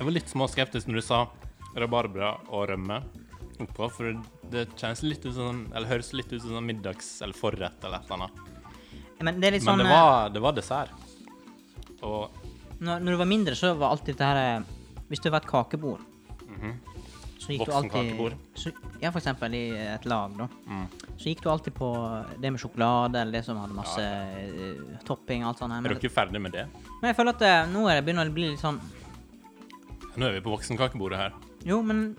Speaker 2: jeg var litt småskeptisk når du sa rabarbra og rømme oppå, for det kjennes litt ut som Eller høres litt ut som sånn middags- eller forrett eller et eller annet.
Speaker 1: men det er litt
Speaker 2: Men
Speaker 1: sånn
Speaker 2: det
Speaker 1: eh,
Speaker 2: var, det var dessert. Og
Speaker 1: når, når du var mindre, så var alltid dette her eh, Hvis det var et kakebord
Speaker 2: Mhm.
Speaker 1: Så gikk du alltid
Speaker 2: Voksenkakebord.
Speaker 1: så, Ja, for eksempel i et lag, da.
Speaker 2: Mm.
Speaker 1: Så gikk du alltid på det med sjokolade, eller det som hadde masse eh, topping og alt sånt. her,
Speaker 2: er
Speaker 1: Men,
Speaker 2: dere ferdig med det?
Speaker 1: men jeg føler at eh, nå er det begynner å bli litt sånn
Speaker 2: Nå er vi på voksenkakebordet her.
Speaker 1: Jo, men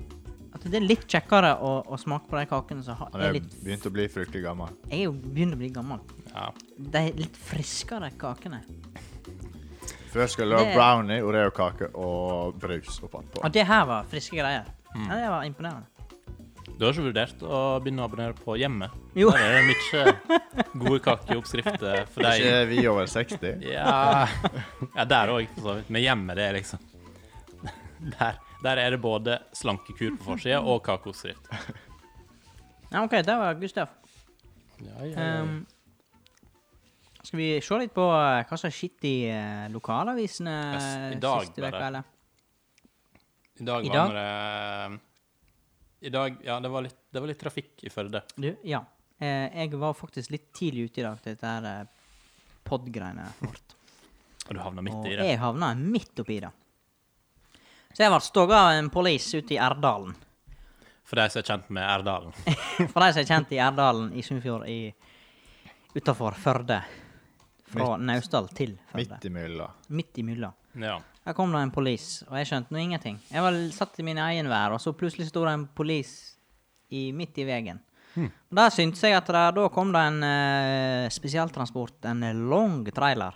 Speaker 1: at det er litt kjekkere å, å smake på de kakene som har-
Speaker 3: Han
Speaker 1: er
Speaker 3: er
Speaker 1: litt
Speaker 3: begynt å bli fryktelig gammel.
Speaker 1: Jeg er jo begynner å bli gammel.
Speaker 2: Ja.
Speaker 1: De litt friskere kakene.
Speaker 3: Før skulle det
Speaker 1: Det-
Speaker 3: være brownie, oreokake og brus opp attpå.
Speaker 1: Og det her var friske greier.
Speaker 2: Mm.
Speaker 1: Ja, det var imponerende.
Speaker 2: Du har ikke vurdert å begynne å abonnere på Hjemmet?
Speaker 1: Jo.
Speaker 2: Der er det mye gode kakeoppskrifter for
Speaker 3: Er
Speaker 2: deg.
Speaker 3: ikke vi over 60?
Speaker 2: Ja, ja der òg, for så vidt. Men Hjemmet, det er liksom Der, der er det både slankekur på forsida og kakeoppskrift.
Speaker 1: Ja, OK, det var Gustav.
Speaker 2: Ja, ja,
Speaker 1: Ehm, skal vi se litt på eh, hva som har skjedd i eh, lokalavisene
Speaker 2: Yes, i
Speaker 1: eh,
Speaker 2: dag
Speaker 1: siste
Speaker 2: bare.
Speaker 1: uke, eller?
Speaker 2: I dag
Speaker 1: i
Speaker 2: var det I dag Ja, det var litt, det var litt trafikk i Førde.
Speaker 1: Du, ja. Eh, jeg var faktisk litt tidlig ute i dag til dette her eh, pod-greiene vårt.
Speaker 2: Og du havna midt
Speaker 1: Og
Speaker 2: i det.
Speaker 1: jeg havna midt oppi det. Så jeg ble stoga av en police ute i Erdalen.
Speaker 2: For de som er kjent med Erdalen.
Speaker 1: For de som er kjent i Erdalen i Sunnfjord i- utenfor Førde. Fra Naustdal til Førde.
Speaker 3: Midt imellom.
Speaker 1: Midt imellom.
Speaker 2: Ja.
Speaker 1: Her kom det en police, og jeg skjønte nå ingenting. Jeg var l- satt i min egen vær, og så plutselig sto det en police i, midt i veien.
Speaker 2: Hm.
Speaker 1: Og Da syntes jeg at det, da kom det en eh, spesialtransport, en lang trailer.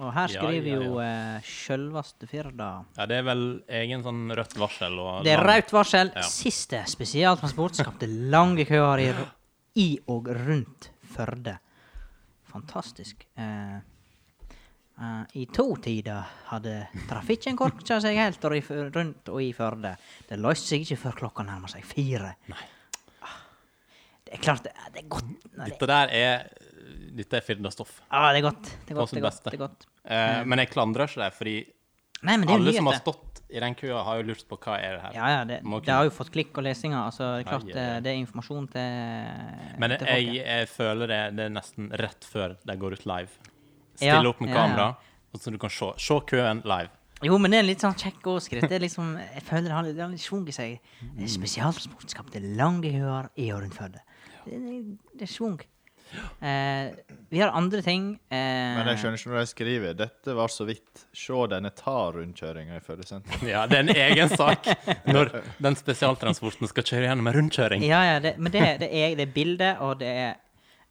Speaker 1: Og her
Speaker 2: Ja,
Speaker 1: skriver
Speaker 2: ja,
Speaker 1: jo uh, sjølveste Firda
Speaker 2: ja, det er vel egen sånn rødt varsel og
Speaker 1: Det er
Speaker 2: lang-
Speaker 1: rødt varsel.
Speaker 2: Ja.
Speaker 1: Siste spesialtransport skapte lange køer i, i og rundt Førde. Fantastisk. Eh, eh, I to-tida hadde trafikken korka seg helt og i, Fø- rundt og i Førde. Det løste seg ikke før klokka nærma seg fire. Ah, Det er klart det er, det er godt. Nei, det,
Speaker 2: Dette der er Dette er Firda-stoff.
Speaker 1: ah, det er godt. Det er
Speaker 2: På
Speaker 1: godt,
Speaker 2: sitt
Speaker 1: det er godt,
Speaker 2: beste.
Speaker 1: det er godt.
Speaker 2: Eh, men jeg klandrer ikke det, fordi
Speaker 1: Nei, Mm. men det er jo
Speaker 2: alle som har
Speaker 1: nyheter.
Speaker 2: stått i den køa, har jo lurt på hva er det her.
Speaker 1: Ja, ja, det,
Speaker 2: Må
Speaker 1: det har jo fått klikk og lesinger. Altså, det er klart
Speaker 2: Ai, ai, ai.
Speaker 1: eh, det er informasjon til
Speaker 2: Men
Speaker 1: til folket.
Speaker 2: jeg, jeg føler det, det er nesten rett før de går ut live.
Speaker 1: Ja,
Speaker 2: Stille opp med
Speaker 1: ja,
Speaker 2: kamera, og så du kan se, se køen live.
Speaker 1: Jo, men det er en litt sånn kjekk overskrift. Det er liksom, jeg føler det har litt, det har litt svung i seg. Spesialtransport skapte lange køer i og rundt Førde. Det, det, det er svung. Eh, vi har andre ting. Eh,
Speaker 3: Men jeg skjønner ikke når de skriver 'Dette var så vidt'. Se denne tar-rundkjøringa i Førde senter.
Speaker 2: Ja, det er en egen sak når den spesialtransporten skal kjøre gjennom en rundkjøring.
Speaker 1: Ja, ja, det, men det, det, er, det er bilde, og det er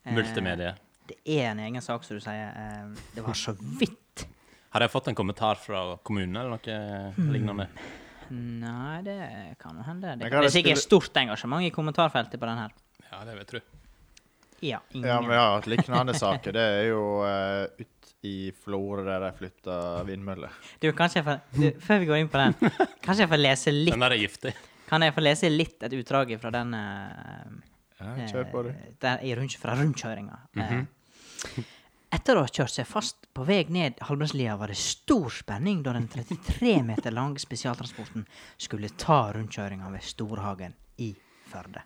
Speaker 1: eh,
Speaker 2: Multimedie.
Speaker 1: Det er en egen sak, som du sier. Eh, det var så vidt.
Speaker 2: Har jeg fått en kommentar fra kommunen eller
Speaker 1: Hmm.
Speaker 2: noe lignende?
Speaker 1: Nei, det kan jo hende. Det,
Speaker 3: Men hva er
Speaker 1: det er
Speaker 3: det
Speaker 1: sikkert
Speaker 3: skulle-
Speaker 1: stort engasjement i kommentarfeltet på den her.
Speaker 2: Ja, det vil jeg tro.
Speaker 1: Ja, ingen.
Speaker 3: Ja, men vi har hatt lignende saker. Det er jo eh, ut i Florø, der de flytta vindmøller.
Speaker 1: Du, kanskje jeg får, du, før vi går inn på den, kanskje jeg får lese litt
Speaker 2: Den der er giftig.
Speaker 1: Kan jeg få lese litt et utdrag fra den eh,
Speaker 3: Ja, kjør på, du. Mhm.
Speaker 1: eh, Der, i rund, Fra rundkjøringa. Eh, Etter å ha kjørt seg fast på vei ned Halvbrandslia var det stor spenning da den 33 meter lange spesialtransporten skulle ta rundkjøringa ved Storhagen i Førde.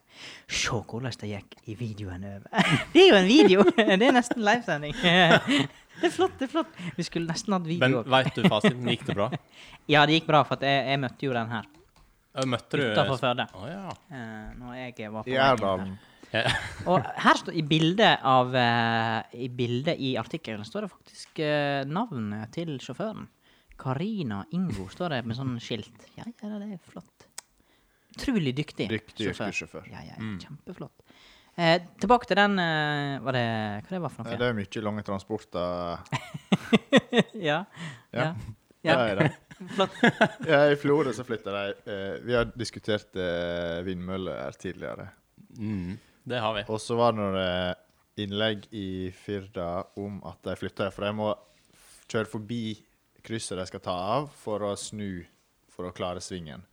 Speaker 1: Se hvordan det gikk i videoen over. Det er jo en video! Det er nesten livesending. Det er flott, det er flott. Vi skulle nesten hatt
Speaker 2: Men
Speaker 1: video òg.
Speaker 2: veit du fasiten? Gikk det bra?
Speaker 1: Ja, det gikk bra, for at jeg, jeg møtte jo den her
Speaker 2: Ja, Eh, Møtte du
Speaker 1: utenfor Førde.
Speaker 2: Å ja.
Speaker 1: Eh, når jeg var på vei
Speaker 3: I
Speaker 1: inn her.
Speaker 3: Erdalen.
Speaker 1: Og her står, i bildet av eh, I bildet i artikkelen står det faktisk eh, navnet til sjåføren. Karina Ingo står det med sånn skilt. Ja, ja, det er flott. Utrolig dyktig,
Speaker 3: Dyktig yrkessjåfør.
Speaker 1: Ja, ja, kjempeflott. Eh, tilbake til den eh, Var det hva det var for noe?
Speaker 3: Eh, Det er mye lange transporter.
Speaker 1: ja. Ja.
Speaker 3: Ja.
Speaker 1: Ja.
Speaker 3: Det er det.
Speaker 1: Flott.
Speaker 3: Ja, I Florø så flytta de eh, Vi har diskutert eh, vindmøller her tidligere.
Speaker 2: Mm, det har vi.
Speaker 3: Og så var det noe innlegg i Firda om at de flytta det, for de må f- kjøre forbi krysset de skal ta av, for å snu for å klare svingen.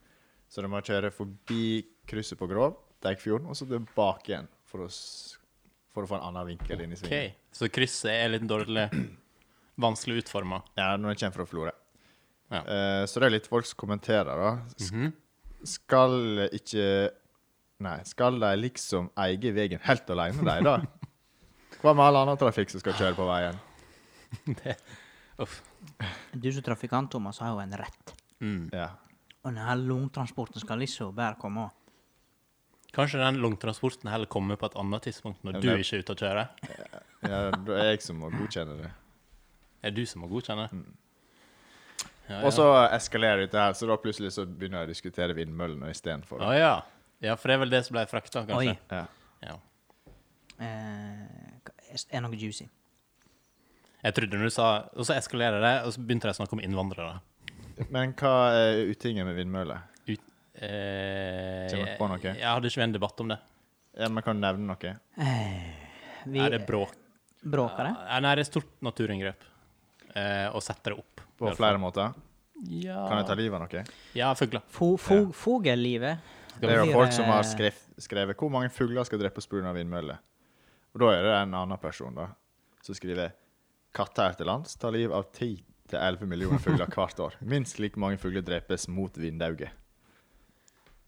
Speaker 3: Så de må kjøre forbi krysset på Grov, Deikfjorden, og så tilbake igjen for å, s- for å få en annen vinkel inn i
Speaker 2: Ok,
Speaker 3: svingen.
Speaker 2: Så krysset er litt dårlig Vanskelig utforma.
Speaker 3: Ja, når jeg kommer fra Florø.
Speaker 2: Ja. Mhm.
Speaker 3: Eh, så det er litt folk som kommenterer, da. Sk Skal ikke Nei, skal de liksom eie veien helt alene, de, da? Hva med all annen trafikk som skal kjøre på veien?
Speaker 2: Uff.
Speaker 1: Du som trafikant, Thomas, har jo en rett.
Speaker 2: Mm.
Speaker 3: Ja.
Speaker 1: Og denne langtransporten skal liksom bare komme.
Speaker 2: Kanskje den langtransporten heller kommer på et annet tidspunkt når
Speaker 3: Ja,
Speaker 2: du
Speaker 3: det-
Speaker 2: ikke er ute og kjører?
Speaker 3: ja det er jeg som må godkjenne det.
Speaker 2: Er du som må godkjenne? Ja, ja.
Speaker 3: Og så eskalerer dette her, så da plutselig så begynner jeg å diskutere vindmøllene istedenfor.
Speaker 2: Å ja. ja, for det er vel det som ble frakta, kanskje?
Speaker 1: Oi.
Speaker 3: Ja.
Speaker 2: Ja.
Speaker 1: Eh, er noe juicy.
Speaker 2: Jeg trodde når du sa Og så eskalerer det, og så begynte jeg å snakke om innvandrere.
Speaker 3: Men hva er utingen med vindmøller?
Speaker 2: Ut, eh,
Speaker 3: Kommer du på noe?
Speaker 2: Jeg, jeg hadde ikke vi en debatt om det.
Speaker 3: Ja, men kan du nevne noe?
Speaker 1: Vi
Speaker 2: er det bråk?
Speaker 1: bråker det?
Speaker 2: Ja, Eh, Nei, det er et stort naturinngrep. Eh, og setter det opp.
Speaker 3: På flere måter?
Speaker 2: Ja,
Speaker 3: Kan jeg ta livet av noe?
Speaker 2: ja fugler.
Speaker 1: Fo, fo, Fogellivet.
Speaker 3: Det er jo
Speaker 1: blir,
Speaker 3: folk som har
Speaker 1: eh,
Speaker 3: skrev, skrevet 'Hvor mange fugler skal drepes pga. vindmøller?' Og da er det en annen person da, som skriver 'Katter her til lands tar liv av 10-11 millioner fugler hvert år'. Minst like mange fugler drepes mot vindauget.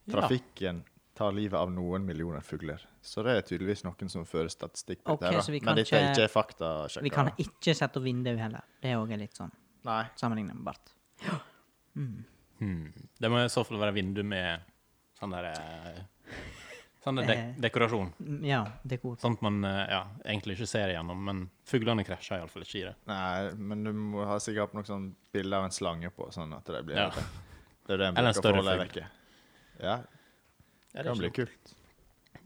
Speaker 3: Trafikken tar livet av noen millioner fugler. Så det er tydeligvis noen som fører statistikk på
Speaker 1: Ok,
Speaker 3: dette. her,
Speaker 1: så
Speaker 3: da.
Speaker 1: vi kan
Speaker 3: Men dette er
Speaker 1: ikke-
Speaker 3: ikke faktasjekka.
Speaker 1: Vi kan ikke sette opp vindu heller. Det òg er litt sånn
Speaker 3: Nei.
Speaker 1: sammenlignbart.
Speaker 2: Hmm. Det må i så fall være vindu med sånn der eh, Sånn der dek dekorasjon.
Speaker 1: Mm, Ja, dekor.
Speaker 2: Sånt man eh, ja, egentlig ikke ser igjennom, men fuglene krasjer iallfall ikke i det.
Speaker 3: Nei, men du må ha sikkert hatt noe sånn bilde av en slange på, sånn at det blir
Speaker 2: Ja.
Speaker 3: Det er det en
Speaker 2: Eller en
Speaker 3: bruker for å
Speaker 2: større
Speaker 3: holde
Speaker 2: fugl.
Speaker 3: vekke. Ja,
Speaker 2: Ja,
Speaker 3: det
Speaker 2: det er
Speaker 3: kan bli
Speaker 2: ikke-
Speaker 3: kult.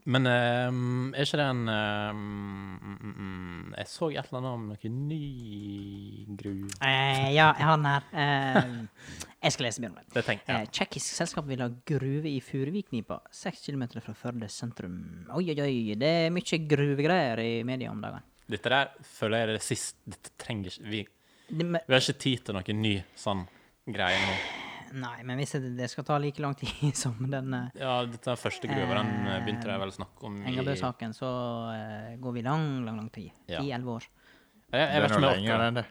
Speaker 2: Men eh, er ikke det en eh, mm, mm, mm, Jeg så et eller annet om noe ny gruve
Speaker 1: Eh, ja, jeg har den her. Eh, jeg skal lese mer om det.
Speaker 2: Det tenker
Speaker 1: Eh,
Speaker 2: jeg.
Speaker 1: Tsjekkisk selskap vil ha gruve i Furuviknipa, seks kilometer fra Førde sentrum. Oi, oi, oi, det er mye gruvegreier i media om dagen.
Speaker 2: Dette der føler jeg er det siste Dette trenger ikke vi,
Speaker 1: Det, men,
Speaker 2: vi har ikke tid til noen ny sånn greie nå.
Speaker 1: nei, men hvis det, det skal ta like lang tid som den eh,
Speaker 2: Ja, dette er første gruva. Den eh, begynte de vel å snakke om i Jeg,
Speaker 1: Engebø-saken, så eh, går vi lang, lang, lang tid.
Speaker 2: Ja.
Speaker 1: Ti-elleve år.
Speaker 2: jeg vet
Speaker 3: det
Speaker 2: ikke
Speaker 3: er
Speaker 2: om
Speaker 3: noe
Speaker 2: jeg
Speaker 3: lenger
Speaker 2: orker.
Speaker 3: enn det.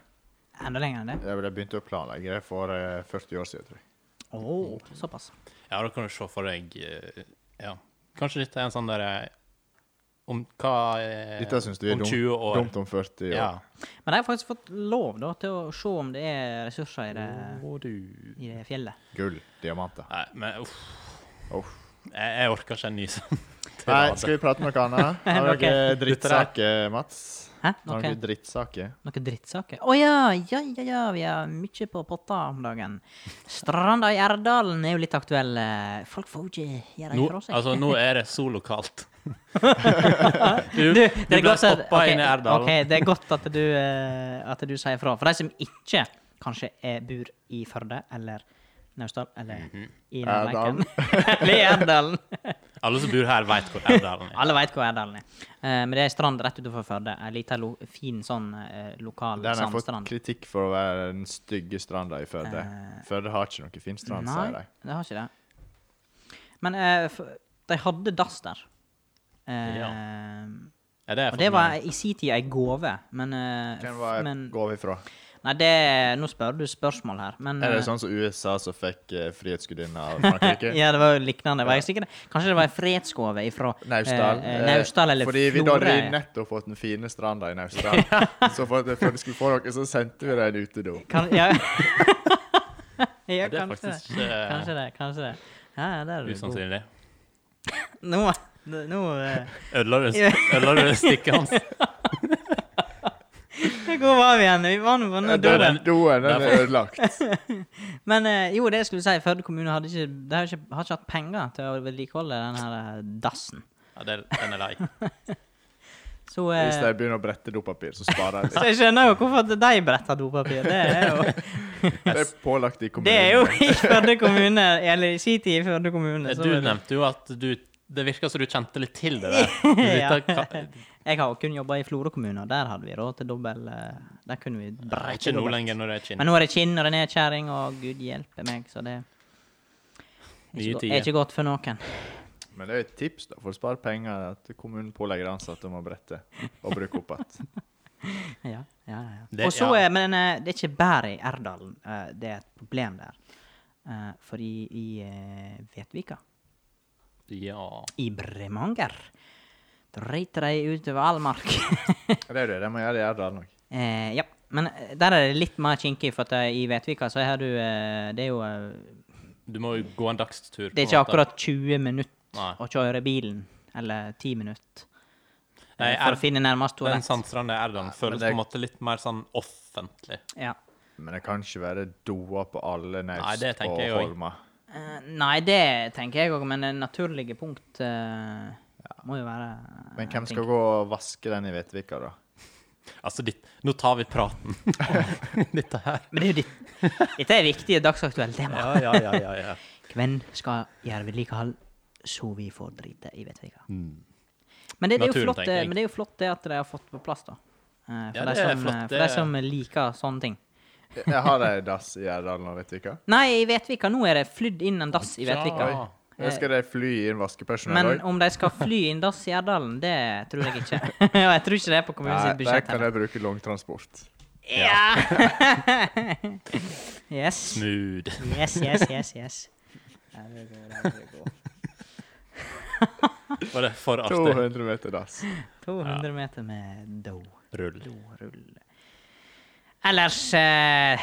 Speaker 1: Enda lenger enn det.
Speaker 3: Jeg ble- begynte å planlegge det for eh, 40 år siden, tror jeg.
Speaker 1: Å, Mm, såpass.
Speaker 2: Ja, da kan du se for deg eh, Ja. Kanskje dette er en sånn derre Om hva eh,
Speaker 3: Dette syns du er
Speaker 2: Om
Speaker 3: dumt,
Speaker 2: 20 år.
Speaker 3: dumt om 40 år.
Speaker 2: Ja.
Speaker 1: Men de har faktisk fått lov da, til å se om det er ressurser i det,
Speaker 2: Å, du.
Speaker 1: i det fjellet.
Speaker 3: Gull. Diamanter.
Speaker 2: Nei, men uff.
Speaker 3: Uff.
Speaker 2: Jeg, jeg orker ikke en ny sånn.
Speaker 3: Nei,
Speaker 2: tirade.
Speaker 3: skal vi prate om noe annet? Har dere
Speaker 1: Ok.
Speaker 3: drittsaker, Mats?
Speaker 1: Hæ?
Speaker 3: Har
Speaker 1: Noe,
Speaker 3: dere drittsaker?
Speaker 1: noe drittsaker? Å ja, ja, ja, ja, vi har mye på potta om dagen. Stranda i Erdalen er jo litt aktuell. eh, Folk får jo ikke gjøre
Speaker 2: Nå,
Speaker 1: det fra seg.
Speaker 2: altså, nå er det så lokalt.
Speaker 1: Du,
Speaker 2: du,
Speaker 1: det
Speaker 2: du
Speaker 1: er
Speaker 2: ble
Speaker 1: godt at-
Speaker 2: stoppa
Speaker 1: ok,
Speaker 2: inn i Erdal.
Speaker 1: ok, det er godt at du, eh, at du sier fra. For de som ikke kanskje er, bor i Førde eller Naustdal eller
Speaker 2: Mhm.
Speaker 1: i nærheten Eller i Erdalen.
Speaker 2: Alle som bor her, veit hvor Erdalen er.
Speaker 1: Alle veit hvor Erdalen er. Eh, men det er ei strand rett utenfor Førde. Ei lita lo fin sånn eh, lokal
Speaker 3: Den har fått
Speaker 1: sandstrand.
Speaker 3: kritikk for å være den stygge stranda i Førde.
Speaker 1: Eh,
Speaker 3: Førde har ikke noe fin strand,
Speaker 1: Nei,
Speaker 3: sier
Speaker 1: det
Speaker 3: de.
Speaker 1: har ikke det. Men eh, f- de hadde dass der. Eh,
Speaker 2: Ja. Ja, det er
Speaker 1: Og det
Speaker 2: faktisk-
Speaker 1: var i sin tid ei gåve, men, eh,
Speaker 3: Hvem
Speaker 1: f-
Speaker 3: var
Speaker 1: men
Speaker 3: går vi fra?
Speaker 1: Nei, det, nå spør du spørsmål her, men
Speaker 2: Mm.
Speaker 1: eh,
Speaker 3: Er det sånn som USA som fikk eh, Frihetsgudinna av Frankrike?
Speaker 1: Ja, det var jo lignende. Var jeg sikker? Kanskje det var en fredsgave ifra
Speaker 3: Naustdal.
Speaker 1: eh, eh, Naustdal eller
Speaker 3: Fordi vi da
Speaker 1: Florø.
Speaker 3: hadde nettopp fått den fine stranda i Naustdal. Så for at for at vi skulle få noe, så sendte vi deg en utedo.
Speaker 1: Kan, ja. ja,
Speaker 2: det er
Speaker 1: kanskje det.
Speaker 2: faktisk eh,
Speaker 1: Kanskje det. kanskje det. Ja, ja, der er du god.
Speaker 2: usannsynlig.
Speaker 1: Nå, nå eh,
Speaker 2: Ødela du,
Speaker 1: Ja.
Speaker 2: ødela du stikket hans?
Speaker 1: Hvor var vi igjen? Vi var nå på den Eh.
Speaker 2: det er
Speaker 1: døren.
Speaker 2: den-
Speaker 3: Den doen den er
Speaker 2: derfor-
Speaker 3: ødelagt.
Speaker 1: Men eh, jo, det jeg skulle si, Førde kommune hadde ikke, de har ikke, har ikke hatt penger til å vedlikeholde den her eh, dassen.
Speaker 2: Ja, det, den er lei.
Speaker 1: Så, eh,
Speaker 3: Hvis de begynner å brette dopapir, så sparer de
Speaker 1: så
Speaker 3: litt.
Speaker 1: jeg skjønner jo hvorfor at de bretter dopapir. Det er jo,
Speaker 3: Det er pålagt i
Speaker 1: det er jo
Speaker 3: kommunen.
Speaker 1: i Førde kommune, eller i sin tid i Førde kommune. så
Speaker 2: Du
Speaker 1: var det-
Speaker 2: nevnte jo at du Det virka som du kjente litt til det der. Du
Speaker 1: Ja.
Speaker 2: vet hva-
Speaker 1: Jeg har jo kun jobba i Florø kommune, og der hadde vi råd til dobbel eh, Der kunne vi
Speaker 2: Nei,
Speaker 1: breite
Speaker 2: Ikke nå
Speaker 1: dobbelt.
Speaker 2: lenger når det er
Speaker 1: Men
Speaker 2: kinn.
Speaker 1: nå er det kinn og det er nedkjæring, og gud hjelpe meg, så det er
Speaker 2: Nye
Speaker 1: ikke, go-
Speaker 2: tider.
Speaker 1: er ikke godt for noen.
Speaker 3: Men det er et tips da, for å spare penger at kommunen pålegger ansatte om å brette og bruke opp igjen.
Speaker 1: Ja, ja, ja.
Speaker 2: Det-
Speaker 1: og så,
Speaker 2: ja.
Speaker 1: er- Men eh, det er ikke bare i Erdalen eh, det er et problem der. Eh, For i, i eh, Vetvika,
Speaker 2: Ja.
Speaker 1: i Bremanger, driter de utover all mark.
Speaker 3: Det er det, de må gjøre det i Erdal òg.
Speaker 1: Eh, ja. Men eh, der er det litt mer kinkig, for at eh, i Vetvika så er du eh, Det er jo eh,
Speaker 2: Du må jo gå en dagstur. på
Speaker 1: Det er
Speaker 2: en
Speaker 1: ikke
Speaker 2: måte.
Speaker 1: akkurat 20 minutter
Speaker 2: Nei.
Speaker 1: å kjøre bilen, eller 10 minutter,
Speaker 2: Nei,
Speaker 1: eh, for
Speaker 2: er- sånn-
Speaker 1: å finne nærmest
Speaker 2: Den
Speaker 1: toalett.
Speaker 2: Sandstrand i Erdal føles
Speaker 3: det-
Speaker 2: på en måte litt mer sånn offentlig.
Speaker 1: Ja.
Speaker 3: Men det kan ikke være doer på alle
Speaker 2: Nei,
Speaker 3: naust
Speaker 2: det tenker
Speaker 3: og
Speaker 2: jeg også.
Speaker 3: holmer.
Speaker 1: Eh, nei, det tenker jeg òg, men det naturlige punkt eh, må jo være eh,
Speaker 3: Men hvem
Speaker 1: tenker-
Speaker 3: skal gå og vaske den i Vetvika, da?
Speaker 2: Altså, ditt, nå tar vi praten. Dette her.
Speaker 1: Men det er jo ditt. Dette er viktige dagsaktuelle tema.
Speaker 2: Ja, ja, ja, ja, ja.
Speaker 1: Hvem skal gjøre vedlikehold så vi får drite i Vetvika?
Speaker 3: Mm.
Speaker 1: Men, det, det er jo
Speaker 2: Naturen,
Speaker 1: flott,
Speaker 2: tenker
Speaker 1: eh,
Speaker 2: jeg.
Speaker 1: men det er jo flott det at de har fått på plass, da. Eh, for
Speaker 2: Ja,
Speaker 1: de
Speaker 2: det er
Speaker 1: som,
Speaker 2: flott,
Speaker 1: eh,
Speaker 2: det
Speaker 1: for de
Speaker 2: er-
Speaker 1: som liker sånne ting.
Speaker 3: Jeg har ei dass i Erdal og Vetvika.
Speaker 1: Nei, i Vetvika nå er det flydd inn en dass i Vetvika.
Speaker 2: Ja.
Speaker 3: Jeg skal de fly inn vaskepersonell
Speaker 1: Men
Speaker 3: òg?
Speaker 1: om de skal fly inn dass i Erdalen, det tror jeg ikke. Og jeg tror ikke det er på kommunens
Speaker 3: Nei, der
Speaker 1: budsjett.
Speaker 3: kan
Speaker 1: heller.
Speaker 3: jeg bruke langtransport.
Speaker 1: Ja. yes.
Speaker 2: Smooth.
Speaker 1: Yes, yes, yes. yes.
Speaker 2: Var det for artig?
Speaker 3: 200 meter dass.
Speaker 1: 200 meter med do.
Speaker 2: Rull.
Speaker 1: Dorull. Ellers eh,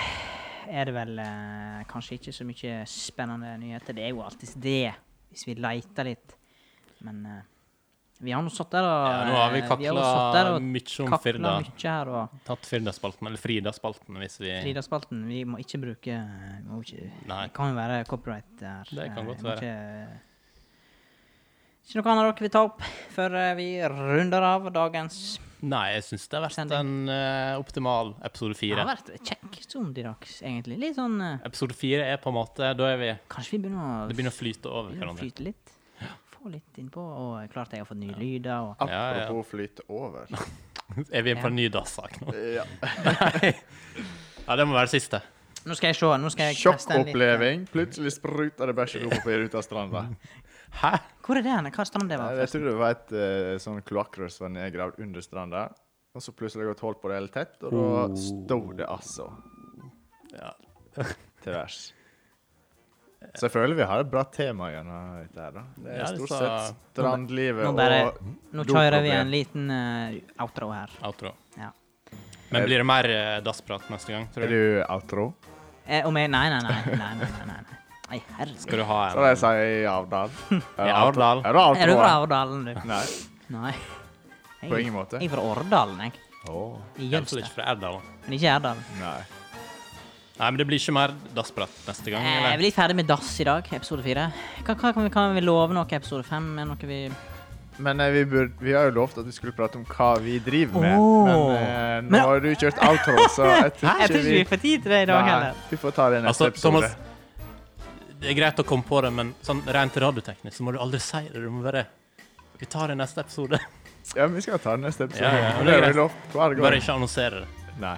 Speaker 1: er det vel eh, kanskje ikke så mye spennende nyheter. Det er jo alltid det, hvis vi leter litt. Men eh, vi har nå sittet der og
Speaker 2: Ja, nå har vi
Speaker 1: eh,
Speaker 2: kakla
Speaker 1: jo satt der og
Speaker 2: mye om
Speaker 1: kakla
Speaker 2: Firda.
Speaker 1: mye her og
Speaker 2: Tatt Firda-spalten, eller Frida-spalten, hvis vi
Speaker 1: Frida-spalten, vi må ikke bruke vi må ikke,
Speaker 2: Nei.
Speaker 1: Det kan jo være copyright der.
Speaker 2: Det kan
Speaker 1: Eh,
Speaker 2: godt
Speaker 1: vi må Ikke, ikke noe annet dere vil ta opp før eh, vi runder av dagens
Speaker 2: Nei, jeg syns det har vært
Speaker 1: Sending.
Speaker 2: en eh, optimal episode
Speaker 1: Det har
Speaker 2: fire.
Speaker 1: vært kjekk sondidags, egentlig. Litt sånn eh,
Speaker 2: Episode fire er på en måte Da er vi
Speaker 1: Kanskje vi begynner å
Speaker 2: Det begynner å flyte over
Speaker 1: begynner å
Speaker 2: hverandre.
Speaker 1: flyte litt? Få litt innpå. Og klart jeg har fått nye lyder. Og,
Speaker 2: Ja, ja.
Speaker 3: Apropos flyte over.
Speaker 2: Er vi på en ny dassak nå? Ja, det må være siste.
Speaker 1: nå skal jeg se. Nå skal jeg teste en litt, eh,
Speaker 3: Sjokkoppleving. Plutselig spruta det bæsj og dopapir ut av stranda.
Speaker 2: Hæ?
Speaker 1: Hvor er det hen? Hva strand det var?
Speaker 3: Jeg
Speaker 1: forresten?
Speaker 3: tror det var et eh, sånn kloakkrør som var nedgravd under stranda. Og så plutselig har jeg gått hull på det helt tett, og da
Speaker 1: Oh.
Speaker 3: sto det altså
Speaker 2: Ja.
Speaker 3: til værs. Så jeg føler vi har et bra tema gjennom dette her, da. Det
Speaker 2: Ja,
Speaker 3: er
Speaker 2: det
Speaker 3: stort
Speaker 2: sa-
Speaker 3: sett strandlivet
Speaker 1: Nå bare
Speaker 3: og
Speaker 1: Nå kjører vi
Speaker 3: doproblem.
Speaker 1: en liten eh, outro her.
Speaker 2: Outro.
Speaker 1: Ja.
Speaker 2: Men blir det mer eh, dassprat neste gang,
Speaker 3: Er
Speaker 2: tror du?
Speaker 3: du outro?
Speaker 1: Eh, om jeg Nei, nei, nei. nei, nei, nei, nei, nei. Nei, herregud.
Speaker 2: Skal du ha
Speaker 3: Så det
Speaker 2: en
Speaker 3: sier i Avdal. Er
Speaker 2: I
Speaker 3: du outro?
Speaker 2: Avdal.
Speaker 3: Er du outro?
Speaker 1: Er du fra Årdalen, du?
Speaker 3: Nei,
Speaker 1: Nei. Jeg,
Speaker 3: på ingen måte.
Speaker 1: Jeg er fra Årdalen, jeg.
Speaker 3: Åh,
Speaker 1: I
Speaker 2: Jeg tror
Speaker 1: Jølster.
Speaker 2: ikke fra Erdal.
Speaker 1: Men ikke Erdalen.
Speaker 3: nei.
Speaker 2: Nei, men det blir ikke mer dassprat neste gang.
Speaker 1: Eh, vi er
Speaker 2: Eller?
Speaker 1: litt ferdig med dass i dag, episode fire. Hva, hva kan, vi, kan vi love noe i episode fem? Er noe vi
Speaker 3: Men eh, vi, burde, vi har jo lovt at vi skulle prate om hva vi driver med.
Speaker 1: Åh.
Speaker 3: Men eh, nå
Speaker 1: Men-
Speaker 3: har du kjørt outro, så jeg tror
Speaker 1: Jeg tror
Speaker 3: ikke
Speaker 1: ikke
Speaker 3: vi
Speaker 1: vi får tid til det i dag
Speaker 3: Nei,
Speaker 1: heller.
Speaker 3: vi får ta det i neste
Speaker 2: Altså,
Speaker 3: episode.
Speaker 2: Thomas, det er greit å komme på det, men sånn rent radioteknisk så må du aldri si det. Du må bare Vi tar det i neste episode.
Speaker 3: Ja, men vi skal ta det i neste episode.
Speaker 2: Ja, ja, men
Speaker 3: det
Speaker 2: det er
Speaker 3: har vi
Speaker 2: greit.
Speaker 3: lovt hver gang.
Speaker 2: Bare ikke annonsere det.
Speaker 3: Nei.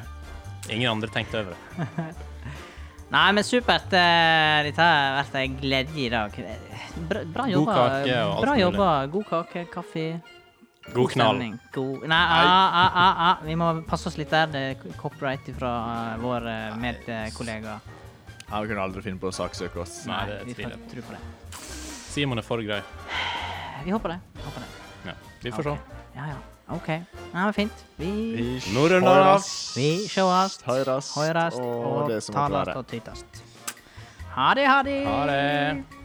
Speaker 2: Ingen andre tenkte over det.
Speaker 1: Nei, men supert. eh, Dette har vært en glede i dag. Eh, Bra, bra
Speaker 2: God
Speaker 1: jobba.
Speaker 2: kake og alt
Speaker 1: bra
Speaker 2: mulig.
Speaker 1: jobba. God kake, kaffe.
Speaker 2: God knall.
Speaker 1: stemning. God Nei, ah, ah, ah, ah. vi må passe oss litt der. Det er copyright fra vår eh, medkollega.
Speaker 3: Han kunne aldri finne på å saksøke oss.
Speaker 2: Nei, det
Speaker 1: vi får
Speaker 2: tviler jeg på.
Speaker 1: tro på det.
Speaker 2: Simon er for grei.
Speaker 1: Vi håper det. Håper det.
Speaker 2: Ja, vi får se.
Speaker 1: Ja, ja. OK. Nei, men fint. Vi
Speaker 3: Vi
Speaker 2: Nå runder det av.
Speaker 3: høyrast,
Speaker 1: Vi sjåast,
Speaker 3: høyrast,
Speaker 1: høyrast
Speaker 3: og,
Speaker 1: og
Speaker 3: det som måtte
Speaker 1: talast
Speaker 3: være.
Speaker 1: og tytast. Ha det, ha det.
Speaker 2: Ha det.